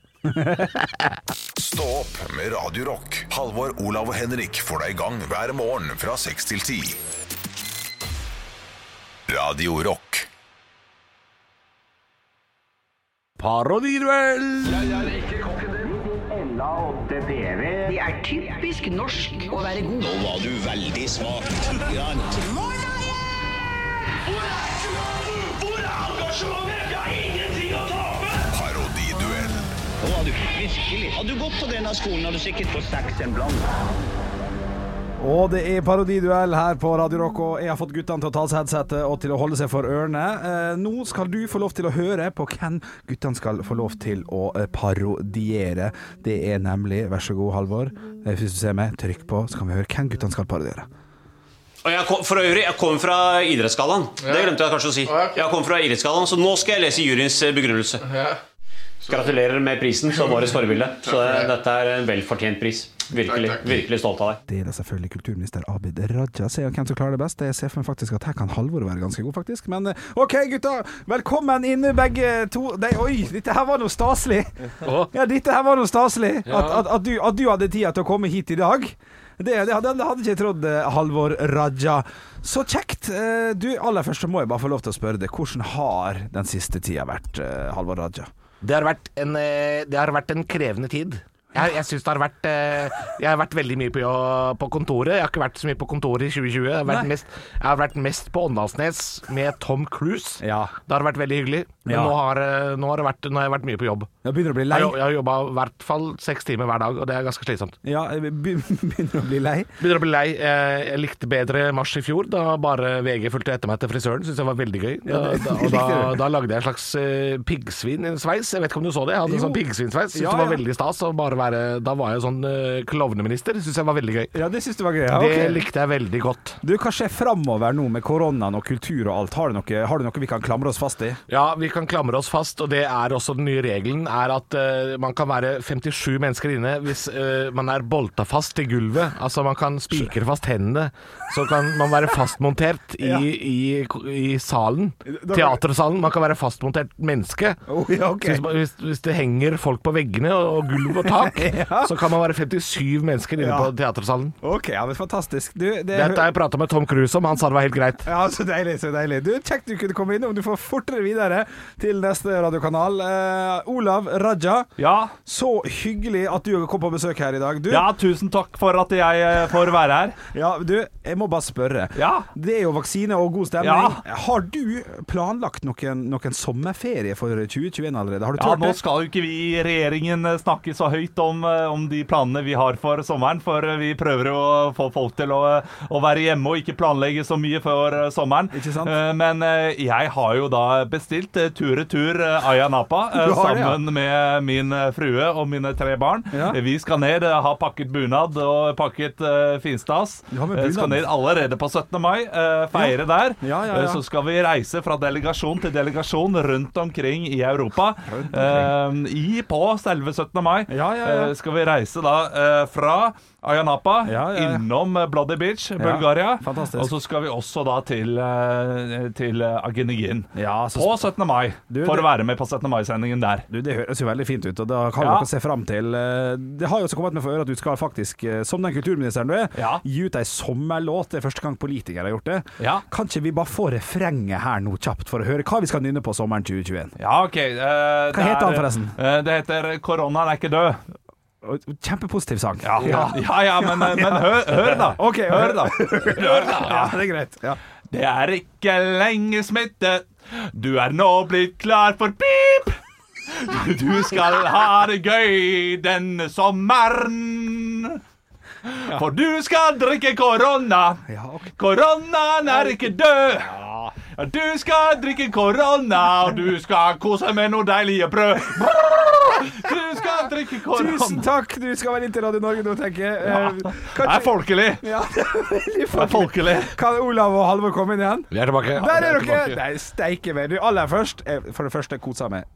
[SPEAKER 1] Stå opp med Radio Rock. Halvor, Olav og Henrik får deg i gang hver morgen fra 6 til 10. Radio Rock.
[SPEAKER 3] Parodiduell!
[SPEAKER 6] Det er typisk norsk å være god. Nå var du veldig smak.
[SPEAKER 7] Hvor er engasjementet? Jeg har ingenting å tape!
[SPEAKER 1] Parodiduell.
[SPEAKER 6] Nå var du virkelig. Hadde du gått på denne skolen, hadde du sikkert fått seks en blant.
[SPEAKER 4] Og det er parodiduell her på Radio Rock, og jeg har fått guttene til å ta av seg headsetet og til å holde seg for ørene. Eh, nå skal du få lov til å høre på hvem guttene skal få lov til å eh, parodiere. Det er nemlig, vær så god Halvor, eh, hvis du ser meg, trykk på, så kan vi høre hvem guttene skal parodiere.
[SPEAKER 8] Og jeg kom, for øvrig, jeg kom fra Idrettsgallaen. Det glemte jeg kanskje å si. Jeg kom fra idrettsgallaen, Så nå skal jeg lese juryens eh, begrunnelse. Gratulerer med prisen som årets forbilde. Så det, dette er en velfortjent pris. Virkelig, virkelig stolt av deg.
[SPEAKER 4] Det er da selvfølgelig kulturminister Abid Raja. Se hvem som klarer det best. Jeg ser for meg faktisk at her kan Halvor være ganske god, faktisk. Men eh, OK, gutta. Velkommen inne, begge to. Nei, oi, dette her var noe staselig. Ja, dette her var noe staselig. At, at, at, du, at du hadde tida til å komme hit i dag. Det, det hadde, det hadde ikke jeg trodd, eh, Halvor Raja. Så kjekt. Eh, Du, aller først så må jeg bare få lov til å spørre deg. Hvordan har den siste tida vært, eh, Halvor Raja?
[SPEAKER 9] Det har vært en, eh, det har vært en krevende tid. Jeg, jeg synes det har vært eh, Jeg har vært veldig mye på, jo- på kontoret. Jeg har ikke vært så mye på kontoret i 2020. Jeg har vært, mest, jeg har vært mest på Åndalsnes med Tom Cruise.
[SPEAKER 4] Ja.
[SPEAKER 9] Det har vært veldig hyggelig. Men
[SPEAKER 4] Ja.
[SPEAKER 9] nå, har, eh, nå, har det vært, nå har jeg vært mye på jobb.
[SPEAKER 4] Jeg begynner å bli lei.
[SPEAKER 9] Jeg, har- jeg har jobba i hvert fall seks timer hver dag, og det er ganske slitsomt.
[SPEAKER 4] Ja, jeg begynner å bli lei.
[SPEAKER 9] Begynner å bli lei. Eh, Jeg likte bedre mars i fjor, da bare VG fulgte etter meg til frisøren. Syns jeg var veldig gøy. Da, da, og da, da lagde jeg en slags eh, piggsvin i en sveis. Jeg vet ikke om du så det? Jeg hadde en
[SPEAKER 4] Jo.
[SPEAKER 9] sånn piggsvinsveis. Syns
[SPEAKER 4] Ja,
[SPEAKER 9] det var
[SPEAKER 4] ja.
[SPEAKER 9] veldig stas å bare være Da var jeg sånn eh, klovneminister. Syns jeg var veldig gøy.
[SPEAKER 4] Ja, det syns du var gøy. Ja,
[SPEAKER 9] Det
[SPEAKER 4] ok.
[SPEAKER 9] likte jeg veldig godt.
[SPEAKER 4] Du, Hva skjer framover nå med koronaen og kultur og alt? Har du noe, har du noe vi kan klamre oss fast i?
[SPEAKER 9] Ja, vi kan klamre oss fast, og det er også den nye regelen, er at eh, man kan være 57 mennesker inne hvis eh, man er bolta fast til gulvet. Altså man kan spikre fast hendene, så kan man være fastmontert i,
[SPEAKER 4] Ja.
[SPEAKER 9] i, i salen. Teatersalen. Man kan være fastmontert menneske.
[SPEAKER 4] Oh, ja, ok.
[SPEAKER 9] Så hvis, man- hvis, hvis det henger folk på veggene og, og gulv og tak, så kan man være 57 mennesker inne
[SPEAKER 4] Ja.
[SPEAKER 9] på teatersalen.
[SPEAKER 4] Ok, ja, men fantastisk. Du, det,
[SPEAKER 9] Dette har jeg prata med Tom Cruise om, han sa det var helt greit.
[SPEAKER 4] ja, Så deilig, så deilig. Du, Kjekt du kunne komme innom. Du får fortere videre til neste radiokanal. Eh, Olav Raja,
[SPEAKER 5] Ja,
[SPEAKER 4] så hyggelig at du kom på besøk her i dag. Du,
[SPEAKER 5] tusen takk for at jeg eh, får være her.
[SPEAKER 4] Ja, du, jeg må bare spørre.
[SPEAKER 5] Ja.
[SPEAKER 4] Det er jo vaksine og god stemning. Har du planlagt noen, noen sommerferie for 2021 allerede? Har du
[SPEAKER 5] Ja,
[SPEAKER 4] tørt
[SPEAKER 5] nå
[SPEAKER 4] det?
[SPEAKER 5] skal jo ikke vi i regjeringen eh, snakke så høyt om, eh, om de planene vi har for sommeren, for eh, vi prøver å få folk til å, eh, å være hjemme og ikke planlegge så mye for eh, sommeren.
[SPEAKER 4] Ikke sant?
[SPEAKER 5] Eh, Men eh, jeg har jo da bestilt eh, eh, tur-retur eh, Ayia Napa eh,
[SPEAKER 10] Du har det, ja.
[SPEAKER 5] sammen med min eh, frue og mine tre barn.
[SPEAKER 10] Ja.
[SPEAKER 5] Eh, Vi skal ned, eh, har pakket bunad og pakket eh, finstas.
[SPEAKER 10] Ja, med
[SPEAKER 5] Eh,
[SPEAKER 10] bunad.
[SPEAKER 5] skal ned allerede på 17. mai, eh, feire der.
[SPEAKER 10] Ja, ja, ja.
[SPEAKER 5] Eh, Så skal vi reise fra delegasjon til delegasjon rundt omkring i Europa. Eh, I på selve 17. mai
[SPEAKER 10] ja.
[SPEAKER 5] eh, skal vi reise da eh, fra Ayia Napa
[SPEAKER 10] ja.
[SPEAKER 5] innom eh, Bloody Beach, Bulgaria.
[SPEAKER 10] fantastisk.
[SPEAKER 5] Og så skal vi også da til, eh, til eh, Agenigin på 17. mai, for
[SPEAKER 4] det-
[SPEAKER 5] å være med på 17. mai-sendingen der.
[SPEAKER 4] Du, Det høres jo veldig fint ut, og da kan
[SPEAKER 5] Ja.
[SPEAKER 4] dere se fram til eh, Det har jo også kommet med for øre at du skal faktisk, eh, som den kulturministeren du er, gi ut ei sommerlåt. Det er første gang politikere har gjort det. Kan ikke vi bare få refrenget her nå kjapt, for å høre hva vi skal nynne på sommeren 2021?
[SPEAKER 5] Ja, OK. eh, det
[SPEAKER 4] heter han
[SPEAKER 5] er-
[SPEAKER 4] forresten?
[SPEAKER 5] eh, det heter 'Koronaen er ikke død'.
[SPEAKER 4] Kjempepositiv sang.
[SPEAKER 5] Ja, ja, ja men, eh, men hør, hør da.
[SPEAKER 4] Ok,
[SPEAKER 5] hør da. Hør da.
[SPEAKER 4] Ja, det er greit. Ja.
[SPEAKER 5] Det er ikke lenge smitte. Du er nå blitt klar for pip. Du skal ha det gøy denne sommeren. For du skal drikke korona. Koronaen er ikke død. Du skal drikke korona, og du skal kose med noe deilige brød. Du skal drikke korona.
[SPEAKER 4] Tusen takk, du skal være inntil Radio Norge nå, tenker jeg.
[SPEAKER 5] Ja.
[SPEAKER 4] Eh,
[SPEAKER 5] Det er folkelig.
[SPEAKER 4] Ja, det er veldig
[SPEAKER 5] Det er folkelig.
[SPEAKER 4] Kan Olav og Halvor komme inn igjen?
[SPEAKER 3] Vi er tilbake.
[SPEAKER 4] Der er dere! Nei, steike meg. Du, Aller først, eh, for det første, kosa meg.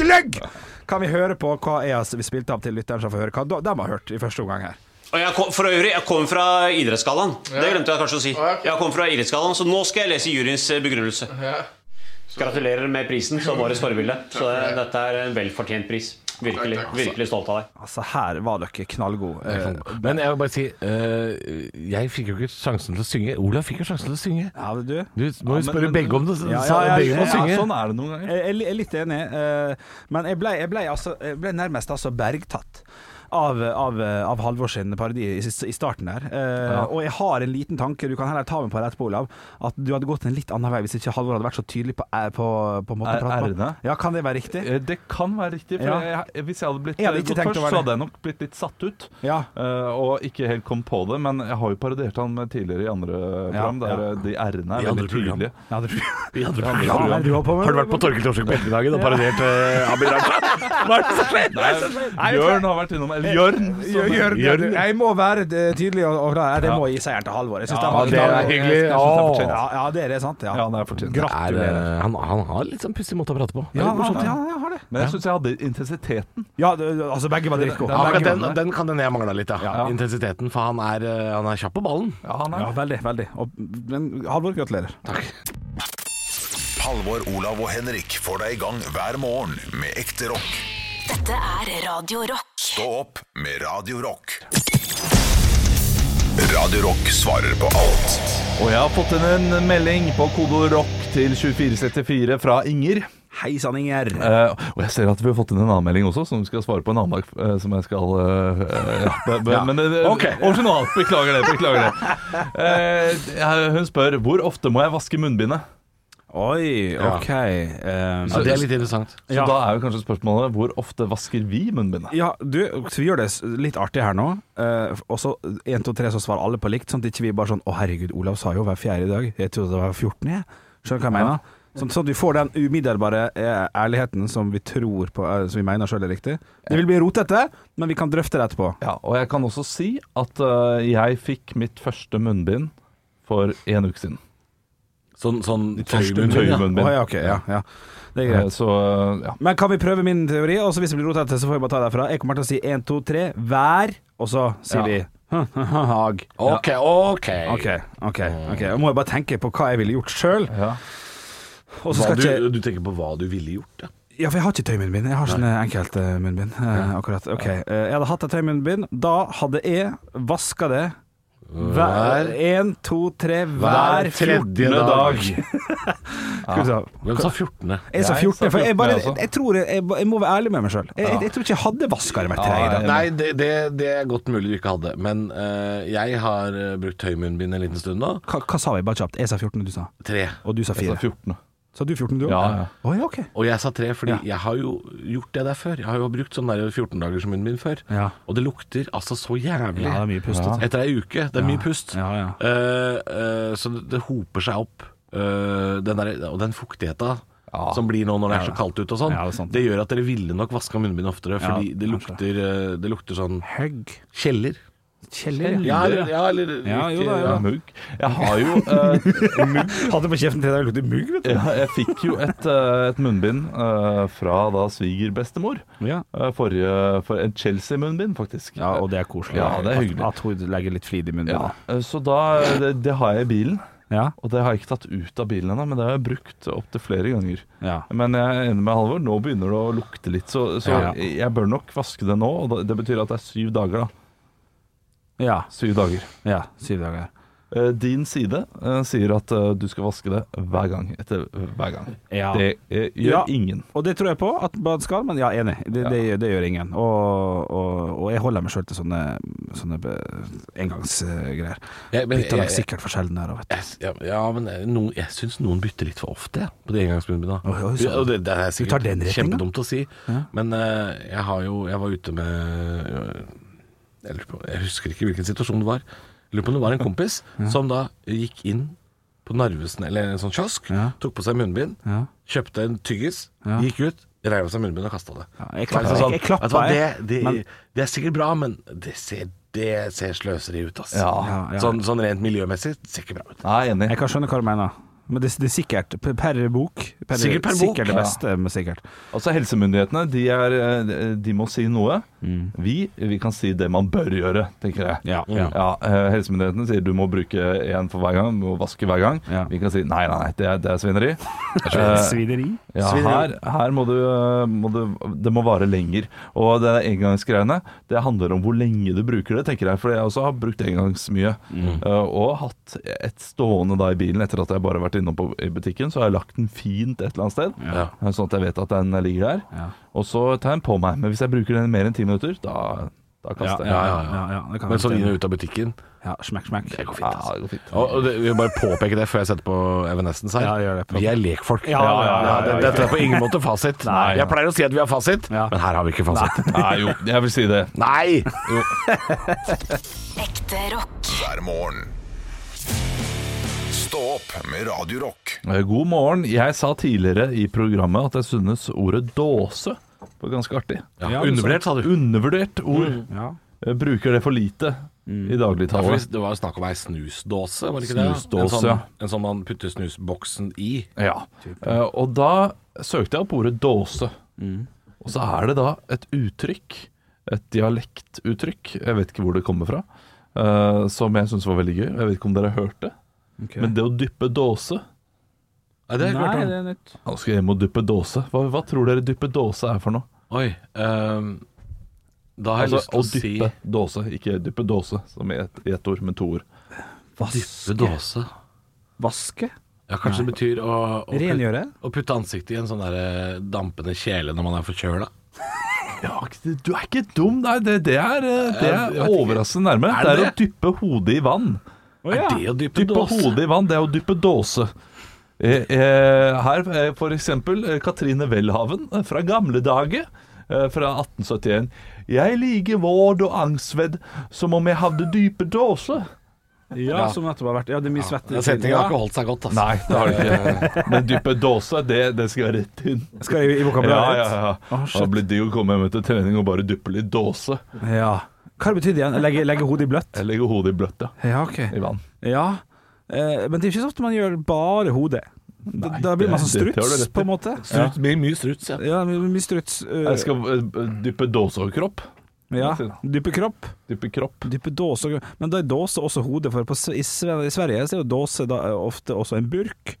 [SPEAKER 4] Gløgg! Kan vi høre på hva jeg har vi spilte av til lytteren, så får vi høre hva de- de har hørt i første omgang her?
[SPEAKER 8] Og jeg kom, for øvrig, jeg kommer fra idrettsgallaen. Det glemte jeg kanskje å si. Jeg kommer fra idrettsgallaen, Så nå skal jeg lese juryens eh, begrunnelse. Gratulerer med prisen som årets forbilde. Så eh, dette er en velfortjent pris. Virkelig, virkelig stolt av deg.
[SPEAKER 4] Altså, her var dere knallgode.
[SPEAKER 3] Jeg kan gå. Eh, Men jeg vil bare si eh, Jeg fikk jo ikke sjansen til å synge. Olav fikk jo sjansen til å synge.
[SPEAKER 4] Eh, Ja, men du
[SPEAKER 3] Du må jo
[SPEAKER 4] Ja, men-
[SPEAKER 3] spørre begge om det.
[SPEAKER 4] Ja,
[SPEAKER 3] sa
[SPEAKER 4] ja, ja,
[SPEAKER 3] begge må
[SPEAKER 4] ja,
[SPEAKER 3] synge.
[SPEAKER 4] sånn er det noen ganger. Jeg, jeg er litt enig, eh, men jeg ble, jeg ble, altså, jeg ble nærmest altså bergtatt. Av, av, eh, av Halvor sin parodi i, i starten der. Eh,
[SPEAKER 5] Ja.
[SPEAKER 4] Og jeg har en liten tanke, du kan heller ta med på det etterpå, Olav, at du hadde gått en litt annen vei hvis ikke Halvor hadde vært så tydelig på, eh, på, på måten å
[SPEAKER 5] Er-
[SPEAKER 4] prate på.
[SPEAKER 5] ærene?
[SPEAKER 4] Ja, Eh, kan det være riktig?
[SPEAKER 5] Eh, Det kan være riktig, for
[SPEAKER 4] Ja.
[SPEAKER 5] jeg, eh, hvis jeg hadde blitt
[SPEAKER 4] Jeg hadde ikke
[SPEAKER 5] gått
[SPEAKER 4] tenkt
[SPEAKER 5] først,
[SPEAKER 4] over
[SPEAKER 5] så
[SPEAKER 4] det.
[SPEAKER 5] hadde jeg nok blitt litt satt ut.
[SPEAKER 4] Ja.
[SPEAKER 5] eh, og ikke helt kom på det, men jeg har jo parodiert han med tidligere i andre program, der
[SPEAKER 3] ja.
[SPEAKER 5] eh, de r-ene
[SPEAKER 3] I
[SPEAKER 5] er
[SPEAKER 3] andre
[SPEAKER 5] veldig
[SPEAKER 3] program.
[SPEAKER 5] tydelige.
[SPEAKER 4] I andre program.
[SPEAKER 3] I andre
[SPEAKER 5] Ja,
[SPEAKER 3] program.
[SPEAKER 5] hva er det du har på med?
[SPEAKER 3] Har du vært på Torkild Torsvik Beltedagen og parodiert eh, Abid Raja? Hva er det som skjer? Hva er det som skjer?
[SPEAKER 5] Nei, Jørn har vært innom
[SPEAKER 3] Eh,
[SPEAKER 5] Eller Jørn! som-
[SPEAKER 4] Gjør- gjør det.
[SPEAKER 5] Jørn.
[SPEAKER 4] Jeg må være eh, tydelig, og, og det, det
[SPEAKER 5] Ja.
[SPEAKER 4] må jeg gi seieren til Halvor. Jeg synes
[SPEAKER 5] Ja,
[SPEAKER 4] det var
[SPEAKER 5] det er
[SPEAKER 4] knall-
[SPEAKER 5] hyggelig.
[SPEAKER 4] Jeg synes det er fortjent.
[SPEAKER 5] Åh.
[SPEAKER 4] Ja, ja, det er det, sant? Ja,
[SPEAKER 5] det er fortjent.
[SPEAKER 3] Er,
[SPEAKER 4] Gratulerer.
[SPEAKER 3] eh, han, han har litt sånn pussig måte å prate på. Det er
[SPEAKER 4] Ja,
[SPEAKER 3] litt morsomt.
[SPEAKER 4] han- ja, jeg har det.
[SPEAKER 5] Men jeg syns jeg hadde intensiteten.
[SPEAKER 4] Ja, det- altså begge var dritgode.
[SPEAKER 3] Ja,
[SPEAKER 4] Begge
[SPEAKER 3] men den,
[SPEAKER 4] var det.
[SPEAKER 3] den kan den jeg mangla litt, ja. Intensiteten. For han er, eh, han er kjapp på ballen.
[SPEAKER 5] Ja, han
[SPEAKER 4] Ja, veldig, veldig. Og, men Halvor, gratulerer.
[SPEAKER 1] Halvor, Olav og Henrik får deg i gang hver morgen med ekte rock.
[SPEAKER 2] Dette er Radio Rock.
[SPEAKER 1] Stå opp med Radio Rock. Radio Rock svarer på alt.
[SPEAKER 5] Og jeg har fått inn en melding på kode rock til 2474 fra Inger.
[SPEAKER 4] Hei sann, Inger.
[SPEAKER 5] Eh, og jeg ser at vi har fått inn en annen melding også, som vi skal svare på en annen dag. eh, som jeg skal eh, eh, ja, be- be-
[SPEAKER 10] Ja.
[SPEAKER 5] Men eh,
[SPEAKER 10] Ok.
[SPEAKER 5] over til noe annet. Beklager det. beklager det Eh, jeg- Hun spør hvor ofte må jeg vaske munnbindet.
[SPEAKER 4] Oi, ok. eh,
[SPEAKER 5] Så-
[SPEAKER 3] det er litt interessant.
[SPEAKER 5] Så
[SPEAKER 4] Ja.
[SPEAKER 5] da er jo kanskje spørsmålet hvor ofte vasker vi munnbindet?
[SPEAKER 4] Ja, du, så vi gjør det s- litt artig her nå. eh, og så 1, 2, 3, så svarer alle på likt. Sånn at ikke vi bare sånn Å, herregud, Olav sa jo hver fjerde i dag. Jeg trodde det var 14, jeg. Skjønner du hva jeg mener? Sånn, sånn at vi får den umiddelbare eh, ærligheten som vi tror på eh, Som vi mener sjøl er riktig. Det vil bli rotete, men vi kan drøfte det etterpå.
[SPEAKER 5] Ja, og jeg kan også si at eh, jeg fikk mitt første munnbind for en uke siden.
[SPEAKER 3] Sånn, sånn
[SPEAKER 4] tøymunnbind, ja. Å, ja, ok, ja, ja. Det er greit.
[SPEAKER 5] Eh, Så eh, ja.
[SPEAKER 4] Men kan vi prøve min teori? Og så hvis det blir rotete, så får vi bare ta det derfra. Jeg kommer til å si 1, 2, 3, hver, og så sier
[SPEAKER 5] Ja.
[SPEAKER 4] vi hag.
[SPEAKER 3] Ok, ok.
[SPEAKER 4] Ok, ok. ok Jeg må jo bare tenke på hva jeg ville gjort sjøl. Og så
[SPEAKER 3] Hva
[SPEAKER 4] skal
[SPEAKER 3] du,
[SPEAKER 4] ikke
[SPEAKER 3] du tenker på hva du ville gjort, ja.
[SPEAKER 4] Ja, for jeg har ikke tøymunnbind. Jeg har sånne enkeltmunnbind. Uh, akkurat. Ok. Eh, jeg hadde hatt et tøymunnbind. Da hadde jeg vaska det hver Én, to, tre, hver
[SPEAKER 3] Hver tredje dag.
[SPEAKER 4] Skal vi se.
[SPEAKER 3] Hvem sa 14.?
[SPEAKER 4] Jeg sa 14, for jeg, bare,
[SPEAKER 3] Jeg også.
[SPEAKER 4] jeg tror jeg, jeg, må være ærlig med meg sjøl. Jeg, jeg, jeg tror ikke jeg hadde vaska det hver tredje dag.
[SPEAKER 3] Nei, det, det, det er godt mulig du ikke hadde. Men eh, jeg har eh, brukt tøymunnbind en liten stund nå.
[SPEAKER 4] Hva, hva sa vi bare kjapt? Jeg sa 14, og du sa
[SPEAKER 3] Tre.
[SPEAKER 4] Og du sa 4.
[SPEAKER 5] Jeg sa 14.
[SPEAKER 4] Sa du 14, du òg?
[SPEAKER 5] Ja, ja.
[SPEAKER 4] Å, ja, ok.
[SPEAKER 3] Og jeg sa tre, fordi jeg har jo gjort det der før. Jeg har jo brukt sånn der 14 dager som munnbind før.
[SPEAKER 4] Ja.
[SPEAKER 3] Og det lukter altså så jævlig.
[SPEAKER 4] Ja, det er mye pust, vet du.
[SPEAKER 3] Etter ei uke. Det er mye pust.
[SPEAKER 4] Ja, ja.
[SPEAKER 3] Eh, eh, så det, det hoper seg opp. Eh, den der, og den fuktigheta som blir nå når det er
[SPEAKER 9] Ja,
[SPEAKER 3] så kaldt ute og sånn.
[SPEAKER 9] ja, det
[SPEAKER 3] det, gjør at dere ville nok vaska munnbind oftere, fordi det, lukter, eh, det lukter sånn
[SPEAKER 4] Høgg.
[SPEAKER 3] Kjeller.
[SPEAKER 4] Kjeller,
[SPEAKER 3] ja. eller- Ja, eller
[SPEAKER 4] Ja, jo
[SPEAKER 3] ikke-
[SPEAKER 4] da, jo da.
[SPEAKER 5] Mugg. Jeg har jo eh, mugg.
[SPEAKER 4] Hadde på kjeften til deg lukter mugg, vet du.
[SPEAKER 5] Ja, jeg fikk jo et, eh, et munnbind eh, fra da svigerbestemor. Eh, Forrige, for en Chelsea-munnbind, faktisk.
[SPEAKER 4] Ja, og det er koselig.
[SPEAKER 5] Ja, det er hyggelig.
[SPEAKER 4] At, at hun legger litt flid i munnen.
[SPEAKER 5] Ja, eh, så da, det, det har jeg i bilen. Og det har jeg ikke tatt ut av bilen ennå, men det har jeg brukt opptil flere ganger. Men jeg er enig med Halvor, nå begynner det å lukte litt, så, så
[SPEAKER 4] Ja.
[SPEAKER 5] jeg bør nok vaske det nå. Og da- det betyr at det er syv dager, da.
[SPEAKER 4] Ja.
[SPEAKER 5] Syv dager.
[SPEAKER 4] Ja, syv dager.
[SPEAKER 5] Eh, Din side eh, sier at eh, du skal vaske det hver gang etter hver gang.
[SPEAKER 4] Ja.
[SPEAKER 5] Det eh, gjør
[SPEAKER 4] Ja.
[SPEAKER 5] ingen.
[SPEAKER 4] Og det tror jeg på at man skal, men ja, enig. Det, det, det gjør ingen. Og, og, og jeg holder meg sjøl til sånne, sånne be- engangsgreier.
[SPEAKER 3] Ja, men-
[SPEAKER 4] Bytter
[SPEAKER 3] jeg-
[SPEAKER 4] nok
[SPEAKER 3] jeg-
[SPEAKER 4] sikkert for sjelden her òg, vet du.
[SPEAKER 3] Jeg, ja, ja, men eh, noen, jeg syns noen bytter litt for ofte jeg, på de engangsmunnbinda.
[SPEAKER 4] Oi, oi,
[SPEAKER 3] Ja,
[SPEAKER 4] sånn.
[SPEAKER 3] og det, det er
[SPEAKER 4] Du tar den
[SPEAKER 3] sikkert
[SPEAKER 4] retningen?
[SPEAKER 3] kjempedumt å si, men eh, jeg har jo Jeg var ute med eh, jeg, lurer på, jeg husker ikke hvilken situasjon det var. Jeg lurer på om det var en kompis som da gikk inn på Narvesen eller en sånn kiosk, tok på seg munnbind,
[SPEAKER 4] Ja.
[SPEAKER 3] kjøpte en tyggis,
[SPEAKER 4] Ja.
[SPEAKER 3] gikk ut, reiv av seg munnbindet og kasta det.
[SPEAKER 4] jeg
[SPEAKER 3] Det var
[SPEAKER 4] klapper-
[SPEAKER 3] liksom
[SPEAKER 4] jeg- jeg klapper,
[SPEAKER 3] vet du hva,
[SPEAKER 4] jeg,
[SPEAKER 3] det, det,
[SPEAKER 4] men-
[SPEAKER 3] det er sikkert bra, men det ser, det ser sløseri ut, ass.
[SPEAKER 4] Ja. Ja, ja.
[SPEAKER 3] Sånn, sånn rent miljømessig det ser ikke bra ut.
[SPEAKER 5] Jeg er enig.
[SPEAKER 4] Jeg kan skjønne hva du mener. Men det, det er sikkert per- per bok. Per,
[SPEAKER 3] Sikkert per bok.
[SPEAKER 4] Sikkert det beste, men sikkert.
[SPEAKER 5] Altså Helsemyndighetene de, er, eh, de må si noe. Vi, vi kan si det man bør gjøre, tenker jeg.
[SPEAKER 4] Mm. Ja.
[SPEAKER 5] eh, helsemyndighetene sier du må bruke én for hver gang, du må vaske hver gang. Vi kan si nei, nei, nei, det er, det er svineri. Eh,
[SPEAKER 4] Svineri?
[SPEAKER 5] ja, her, her må du, eh, må du Det må vare lenger. Og det er engangsgreiene. Det handler om hvor lenge du bruker det, tenker jeg. For jeg også har brukt engangs mye.
[SPEAKER 3] Mm.
[SPEAKER 5] Eh, og hatt et stående da i bilen etter at jeg bare har vært innom på, i butikken. Så har jeg lagt den fint et eller annet sted,
[SPEAKER 3] Ja.
[SPEAKER 5] eh, sånn at jeg vet at den ligger der. Og så tar jeg den på meg. Men hvis jeg bruker den i mer enn ti minutter, da, da kaster jeg
[SPEAKER 3] Ja,
[SPEAKER 5] den.
[SPEAKER 3] ja, ja.
[SPEAKER 4] Ja, ja, det kan
[SPEAKER 3] Men
[SPEAKER 4] jeg
[SPEAKER 3] så
[SPEAKER 4] forstå.
[SPEAKER 3] inn og ut av butikken.
[SPEAKER 4] Ja, smekk, smekk.
[SPEAKER 3] Det går fint.
[SPEAKER 5] Ja,
[SPEAKER 3] Altså.
[SPEAKER 5] det går fint.
[SPEAKER 3] Og, og det, vi vil bare påpeke det før jeg setter på Evanescence her.
[SPEAKER 4] Ja, gjør det.
[SPEAKER 3] Vi er lekfolk.
[SPEAKER 4] Ja, ja, ja, ja,
[SPEAKER 3] det-
[SPEAKER 4] ja.
[SPEAKER 3] Dette er på ingen måte fasit.
[SPEAKER 4] Nei.
[SPEAKER 3] jeg pleier å si at vi har fasit,
[SPEAKER 4] Ja.
[SPEAKER 3] men her har vi ikke fasit.
[SPEAKER 5] Nei, jo, jeg vil si det.
[SPEAKER 3] Nei!
[SPEAKER 2] Ekte rock.
[SPEAKER 1] hver morgen. Stå opp med Radio Rock.
[SPEAKER 5] Eh, God morgen. Jeg sa tidligere i programmet at jeg synes ordet dåse var ganske artig.
[SPEAKER 3] Ja, undervurdert, sa du.
[SPEAKER 5] Undervurdert ord.
[SPEAKER 4] Ja.
[SPEAKER 5] Jeg bruker det for lite i
[SPEAKER 3] Mm. Ja, for hvis-
[SPEAKER 5] dagligtale.
[SPEAKER 3] det var jo snakk om ei snusdåse, var det ikke det? En
[SPEAKER 5] Snusdåse,
[SPEAKER 3] sånn,
[SPEAKER 5] ja.
[SPEAKER 3] en sånn man putter snusboksen i.
[SPEAKER 5] Ja. Eh, og da søkte jeg opp ordet dåse.
[SPEAKER 3] Mm.
[SPEAKER 5] Og så er det da et uttrykk, et dialektuttrykk, jeg vet ikke hvor det kommer fra, eh, som jeg syns var veldig gøy. Jeg vet ikke om dere har hørt det, men det å dyppe dåse
[SPEAKER 3] Nei, det har jeg ikke hørt om.
[SPEAKER 4] er nytt.
[SPEAKER 5] Nå skal jeg hjem og dyppe dåse. Hva, hva tror dere dyppe dåse er for noe?
[SPEAKER 3] Oi. ehm, da har jeg
[SPEAKER 5] Altså, å
[SPEAKER 3] lyst til
[SPEAKER 5] dyppe
[SPEAKER 3] å si
[SPEAKER 5] dåse, ikke dyppe dåse som i ett et ord, men to ord.
[SPEAKER 3] dyppe dåse.
[SPEAKER 4] Vaske?
[SPEAKER 3] Ja, kanskje det betyr å, å, putte,
[SPEAKER 4] Rengjøre?
[SPEAKER 3] å putte ansiktet i en sånn der eh, dampende kjele når man er forkjøla.
[SPEAKER 5] Ja, du er ikke dum, nei. Det, det er, eh, det
[SPEAKER 3] Jeg
[SPEAKER 5] er
[SPEAKER 3] vet ikke.
[SPEAKER 5] overraskende nærme.
[SPEAKER 3] Er
[SPEAKER 5] Det er å
[SPEAKER 3] det?
[SPEAKER 5] dyppe hodet i vann.
[SPEAKER 3] Er det å dyppe
[SPEAKER 5] Dyppe
[SPEAKER 3] dåse?
[SPEAKER 5] hodet i vann, det er å dyppe dåse. Eh, eh, her eh, for eksempel eh, Katrine Welhaven eh, fra gamle dager, eh, fra 1871. Jeg liker vård og angstvedd som om jeg hadde dype dåse.
[SPEAKER 4] Ja, som nettopp har vært Ja, det er mye svette.
[SPEAKER 3] Den setningen har ikke holdt seg godt, altså.
[SPEAKER 5] Nei, det har det ikke. Men dyppe dåse, det, det skal være rett inn.
[SPEAKER 4] Skal jeg i
[SPEAKER 5] Ja,
[SPEAKER 4] vokabularet?
[SPEAKER 5] ja, ja.
[SPEAKER 4] Å, shit.
[SPEAKER 5] da blir digg å komme hjem etter trening og bare duppe litt dåse.
[SPEAKER 4] Ja. Hva det betydde det igjen? Legge, legge hodet i bløtt?
[SPEAKER 5] Jeg legger hodet i bløtt, ja.
[SPEAKER 4] Ja, ok.
[SPEAKER 5] I vann.
[SPEAKER 4] Ja. Eh, men det er ikke så ofte man gjør bare hodet. Da-
[SPEAKER 5] Nei,
[SPEAKER 4] da blir man
[SPEAKER 5] det-
[SPEAKER 4] sånn
[SPEAKER 5] det har du
[SPEAKER 4] struts,
[SPEAKER 5] rett i.
[SPEAKER 4] på en måte.
[SPEAKER 3] Struts, mye, mye struts, ja.
[SPEAKER 4] Ja, my- mye struts. eh,
[SPEAKER 5] Jeg skal eh, dyppe dåse og kropp.
[SPEAKER 4] ja. Dyppe kropp.
[SPEAKER 5] Dyppe kropp.
[SPEAKER 4] Dyppe dåse. og- Men da er dåse også hodet, for på, s- i, Sve- i Sverige så er jo dåse da, eh, ofte også en burk.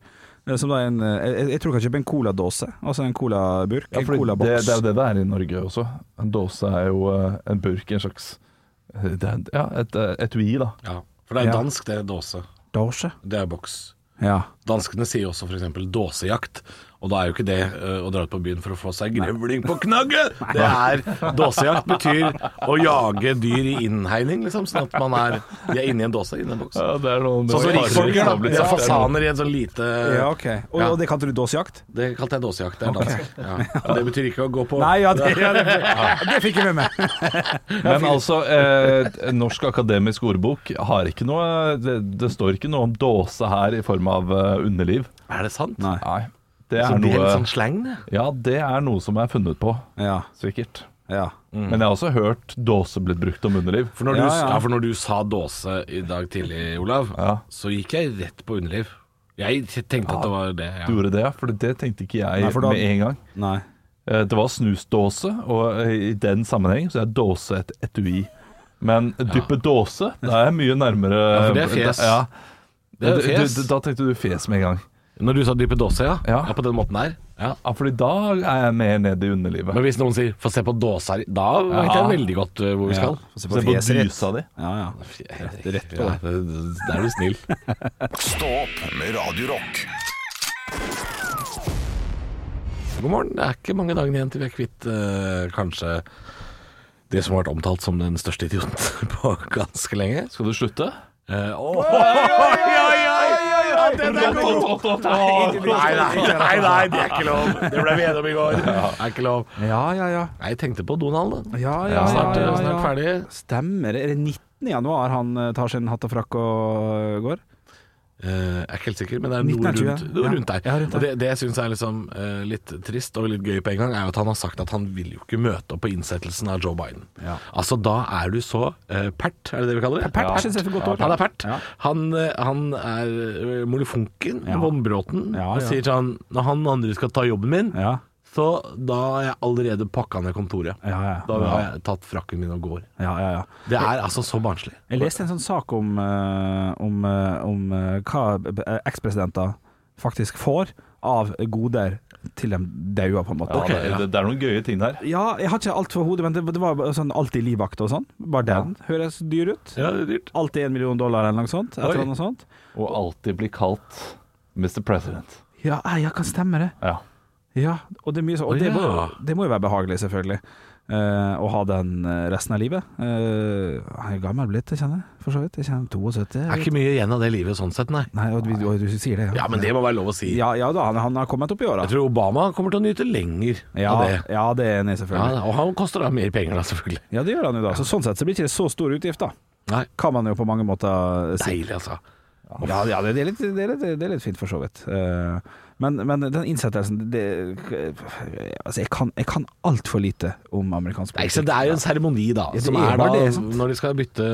[SPEAKER 4] eh, Som da er en, eh, jeg, jeg tror du kan kjøpe en coladåse, altså en colaburk,
[SPEAKER 5] Ja,
[SPEAKER 4] en
[SPEAKER 5] fordi det,
[SPEAKER 4] colaboks.
[SPEAKER 5] det er jo det det er i Norge også. En dåse er jo eh, en burk, en slags eh, det er, Ja, et eh, etui, da.
[SPEAKER 3] ja. For det er
[SPEAKER 4] Ja.
[SPEAKER 3] dansk, det er dåse.
[SPEAKER 4] Dåse.
[SPEAKER 3] Det er boks.
[SPEAKER 4] Ja.
[SPEAKER 3] Danskene sier jo også f.eks. dåsejakt, og da er jo ikke det eh, å dra ut på byen for å få seg grevling på knagget! Det er Dåsejakt betyr å jage dyr i innhegning, liksom, sånn at man er De er inni en dåse, inni en boks.
[SPEAKER 5] Ja, det er noen
[SPEAKER 3] Sånn som rikfolk gjør, da. Ja, fasaner i en sånn lite
[SPEAKER 5] Eh,
[SPEAKER 4] ja, ok. Og,
[SPEAKER 3] ja.
[SPEAKER 4] og det kalte du dåsejakt?
[SPEAKER 3] Det kalte jeg dåsejakt, det er dansk. Ja. Og det betyr ikke å gå på
[SPEAKER 4] Nei, ja, det, ja, det, det fikk jeg med meg.
[SPEAKER 5] Men altså, eh, Norsk akademisk ordbok har ikke noe Det, det står ikke noe om dåse her i form av eh, underliv.
[SPEAKER 3] Er det sant?
[SPEAKER 4] Nei.
[SPEAKER 5] Nei. Det er
[SPEAKER 9] Så blir det
[SPEAKER 5] noe-
[SPEAKER 3] liksom
[SPEAKER 9] litt sånn slang, det.
[SPEAKER 5] Ja, det er noe som er funnet på. Sikkert.
[SPEAKER 3] Mm.
[SPEAKER 5] Men jeg har også hørt dåse blitt brukt om underliv.
[SPEAKER 3] For når, Du, ja, for når du sa dåse i dag tidlig, Olav, så gikk jeg rett på underliv. Jeg tenkte at det var det. Ja.
[SPEAKER 5] Du gjorde det, ja, for det tenkte ikke jeg
[SPEAKER 3] Nei, for da-
[SPEAKER 5] med en gang. Eh, Det var snusdåse, og eh, i den sammenheng så er dåse et etui. Men dyppe dåse, da er jeg mye nærmere
[SPEAKER 3] Ja, for det er fjes.
[SPEAKER 5] Da, ja.
[SPEAKER 3] Det er
[SPEAKER 5] Du- du-
[SPEAKER 3] fjes.
[SPEAKER 5] du- Da tenkte du fjes med en gang.
[SPEAKER 3] Når du sa dyppe dåse, ja.
[SPEAKER 5] ja.
[SPEAKER 3] På den måten der. Ja.
[SPEAKER 5] fordi da er jeg mer nede i underlivet.
[SPEAKER 3] Men hvis noen sier 'få se på dåsa di', da vet
[SPEAKER 5] Ja.
[SPEAKER 3] jeg veldig godt eh, hvor vi
[SPEAKER 5] Ja.
[SPEAKER 3] skal.
[SPEAKER 5] Få se på Se på fjeset ditt. dysa di.
[SPEAKER 4] Ja, ja.
[SPEAKER 3] Rett, på det. Der er du snill.
[SPEAKER 1] Stå opp med Radio Rock.
[SPEAKER 3] God morgen. Det er ikke mange dagene igjen til vi er kvitt eh, kanskje det som har vært omtalt som den største idioten på ganske lenge.
[SPEAKER 5] Skal du slutte?
[SPEAKER 3] Uh,
[SPEAKER 7] Ja, den er
[SPEAKER 5] god!
[SPEAKER 7] Nei, nei, nei, nei, det er ikke lov.
[SPEAKER 3] Det ble vi enige om i går. Det er ikke lov.
[SPEAKER 4] Ja, ja, ja.
[SPEAKER 3] Jeg tenkte på Donald, da.
[SPEAKER 4] Ja, ja, ja,
[SPEAKER 3] Snart, eh,
[SPEAKER 4] ja, ja.
[SPEAKER 3] snart ferdig.
[SPEAKER 4] Stemmer. Er det 19. januar han eh, tar sin hatt og frakk og går?
[SPEAKER 3] Eh, jeg er ikke helt sikker, men det er
[SPEAKER 4] 19
[SPEAKER 3] noe
[SPEAKER 4] er 20,
[SPEAKER 3] rundt, noe
[SPEAKER 4] ja.
[SPEAKER 3] rundt der.
[SPEAKER 4] Ja, rundt der.
[SPEAKER 3] Og det, det jeg syns er liksom, eh, litt trist og litt gøy på en gang, er jo at han har sagt at han vil jo ikke møte opp på innsettelsen av Joe Biden.
[SPEAKER 4] Ja.
[SPEAKER 3] Altså, da er du så eh, pert, er det det vi kaller det?
[SPEAKER 4] Pert, jeg synes det er et godt ord.
[SPEAKER 3] Han er pert. Han, eh, han er eh, molefonken, vognbråten,
[SPEAKER 4] Ja,
[SPEAKER 3] og
[SPEAKER 4] ja.
[SPEAKER 3] sier sånn Når han andre skal ta jobben min, så da har jeg allerede pakka ned kontoret. Da har
[SPEAKER 4] Ja.
[SPEAKER 3] jeg tatt frakken min og går.
[SPEAKER 4] Ja, ja, ja.
[SPEAKER 3] Det er altså så barnslig.
[SPEAKER 4] Jeg leste en sånn sak om, eh, om, eh, om eh, hva b- b- ekspresidenter faktisk får av goder til de dauer, på en måte.
[SPEAKER 5] Ja, det, det, det er noen gøye ting der.
[SPEAKER 4] Ja, jeg har ikke alt for hodet, men det, det var bare sånn alltid livvakt og sånn. Bare den høres dyr ut.
[SPEAKER 3] Ja, det er dyrt.
[SPEAKER 4] Alltid en million dollar eller noe sånt. Et
[SPEAKER 5] Oi.
[SPEAKER 4] eller annet sånt.
[SPEAKER 5] Og alltid bli kalt Mr. President.
[SPEAKER 4] Ja, nei, ja, kan stemme det.
[SPEAKER 5] Ja.
[SPEAKER 4] Ja, og det, er mye sånn-
[SPEAKER 5] Å,
[SPEAKER 4] og det, må,
[SPEAKER 5] ja.
[SPEAKER 4] det må jo være behagelig, selvfølgelig. eh, å ha den eh, resten av livet. Eh, jeg er gammel blitt, jeg kjenner jeg, for så vidt. Jeg kjenner 72.
[SPEAKER 3] Det er ikke mye igjen av det livet sånn sett, nei.
[SPEAKER 4] Nei, og, du- og du sier det,
[SPEAKER 3] Ja, men det må være lov å si.
[SPEAKER 4] Ja, ja da, han, han har kommet opp i åra.
[SPEAKER 3] Jeg tror Obama kommer til å nyte lenger
[SPEAKER 4] Ja,
[SPEAKER 3] av det.
[SPEAKER 4] det. ja, det er enig, selvfølgelig.
[SPEAKER 3] Ja, og han koster da mer penger, da, selvfølgelig.
[SPEAKER 4] Ja, det gjør han jo da. Så sånn sett så blir det ikke så stor utgift, da.
[SPEAKER 3] Nei.
[SPEAKER 4] Kan man jo på mange måter si.
[SPEAKER 3] Deilig, altså.
[SPEAKER 4] Ja, ja det, det, er litt, det, er litt, det er litt fint, for så vidt. Eh, men, men den innsettelsen det, altså, Jeg kan, jeg kan altfor lite om amerikansk
[SPEAKER 3] Nei, så det er jo en seremoni, da.
[SPEAKER 4] Ja, det
[SPEAKER 3] som
[SPEAKER 4] er
[SPEAKER 3] er da,
[SPEAKER 4] bare det, sant?
[SPEAKER 3] Når de skal bytte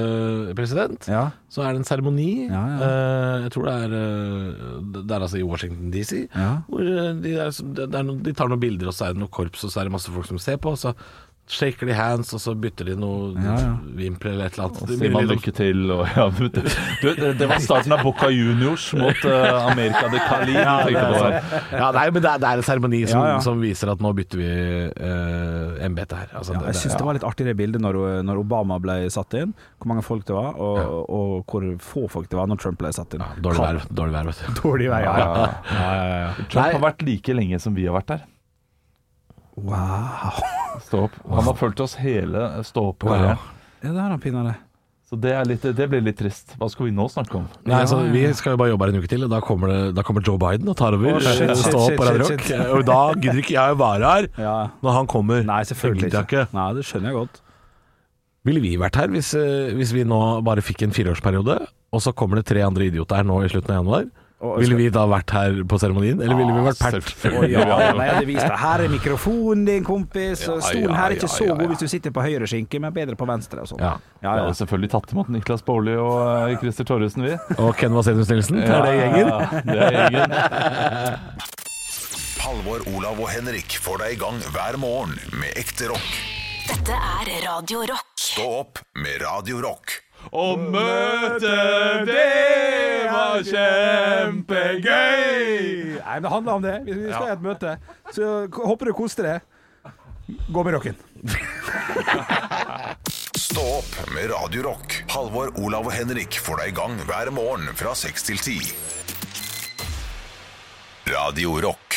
[SPEAKER 3] president,
[SPEAKER 4] Ja.
[SPEAKER 3] så er det en seremoni. Eh, jeg tror det er eh, Det er altså i Washington DC.
[SPEAKER 4] Ja.
[SPEAKER 3] Hvor eh, de, er, som- det er noen, de tar noen bilder, og så er det noe korps, og så er det masse folk som ser på. Og så shaker de hands, og så bytter de noe
[SPEAKER 5] Ja, ja.
[SPEAKER 3] vimpler eller et eller annet.
[SPEAKER 5] Og
[SPEAKER 3] Det liksom
[SPEAKER 5] sier man
[SPEAKER 3] minner litt om-
[SPEAKER 5] lykke til og ja, men det, du, det, det var starten av Boca Juniors mot eh, America de Cali.
[SPEAKER 3] Ja, det
[SPEAKER 5] tenkte
[SPEAKER 3] er
[SPEAKER 5] på
[SPEAKER 3] sant.
[SPEAKER 5] her.
[SPEAKER 3] Ja, nei, men det er, det er en seremoni som,
[SPEAKER 4] Ja, ja.
[SPEAKER 3] som viser at nå bytter vi uh, embetet her. Altså,
[SPEAKER 4] Ja, jeg syns det var litt artig det bildet når, når Obama ble satt inn, hvor mange folk det var, og, og hvor få folk det var når Trump ble satt inn.
[SPEAKER 3] Dårlig
[SPEAKER 4] Kan-
[SPEAKER 3] vær, dårlig vær, vet du.
[SPEAKER 4] Dårlig vær, ja. ja, ja.
[SPEAKER 5] Trump har vært like lenge som vi har vært der.
[SPEAKER 4] Wow.
[SPEAKER 5] Stå opp. Han har fulgt oss hele eh, stå opp.
[SPEAKER 3] Wow.
[SPEAKER 4] Ja, det har han pinadø.
[SPEAKER 5] Så det, er litt, det blir litt trist. Hva skal vi nå snakke om?
[SPEAKER 3] Nei, altså, Vi skal jo bare jobbe her en uke til, og da kommer, det, da kommer Joe Biden og tar over.
[SPEAKER 5] Å, shit,
[SPEAKER 3] eh,
[SPEAKER 5] shit,
[SPEAKER 3] stå opp
[SPEAKER 5] shit,
[SPEAKER 3] på Radio
[SPEAKER 5] shit,
[SPEAKER 3] Rock.
[SPEAKER 5] shit.
[SPEAKER 3] Og da gidder ikke jeg å være her når han kommer.
[SPEAKER 4] Nei, selvfølgelig
[SPEAKER 3] Det gidder jeg ikke.
[SPEAKER 4] Nei, det skjønner jeg godt.
[SPEAKER 3] Ville vi vært her hvis, eh, hvis vi nå bare fikk en fireårsperiode, og så kommer det tre andre idioter her nå i slutten av januar?
[SPEAKER 4] Og-
[SPEAKER 3] Ville vi da vært her på seremonien, eller ville vi
[SPEAKER 4] Ah,
[SPEAKER 3] vært pert?
[SPEAKER 4] Å, ja, nei, det viser deg. Her er mikrofonen din, kompis.
[SPEAKER 3] Ja,
[SPEAKER 4] Stolen
[SPEAKER 3] ja,
[SPEAKER 4] her er ikke
[SPEAKER 3] ja,
[SPEAKER 4] så
[SPEAKER 3] ja,
[SPEAKER 4] god hvis du sitter på høyre skinke, men bedre på venstre og sånn.
[SPEAKER 3] Ja.
[SPEAKER 4] Ja, ja.
[SPEAKER 5] Vi hadde selvfølgelig tatt imot Niklas Baarli og eh, Christer Torjussen, vi.
[SPEAKER 3] Og Ken Vasenius Nilsen, er det gjengen?
[SPEAKER 5] Ja, det er gjengen.
[SPEAKER 1] Halvor, Olav og Henrik får deg i gang hver morgen med ekte rock.
[SPEAKER 2] Dette er Radio Rock.
[SPEAKER 1] Stå opp med Radio Rock.
[SPEAKER 10] Å møte det var kjempegøy!
[SPEAKER 4] Nei, men det handler om det. Vi vi skal i et møte. Så håper du koser deg. Gå med rocken.
[SPEAKER 1] Stå opp med Radio Rock. Halvor, Olav og Henrik får deg i gang hver morgen fra 6 til 10. Radio Rock.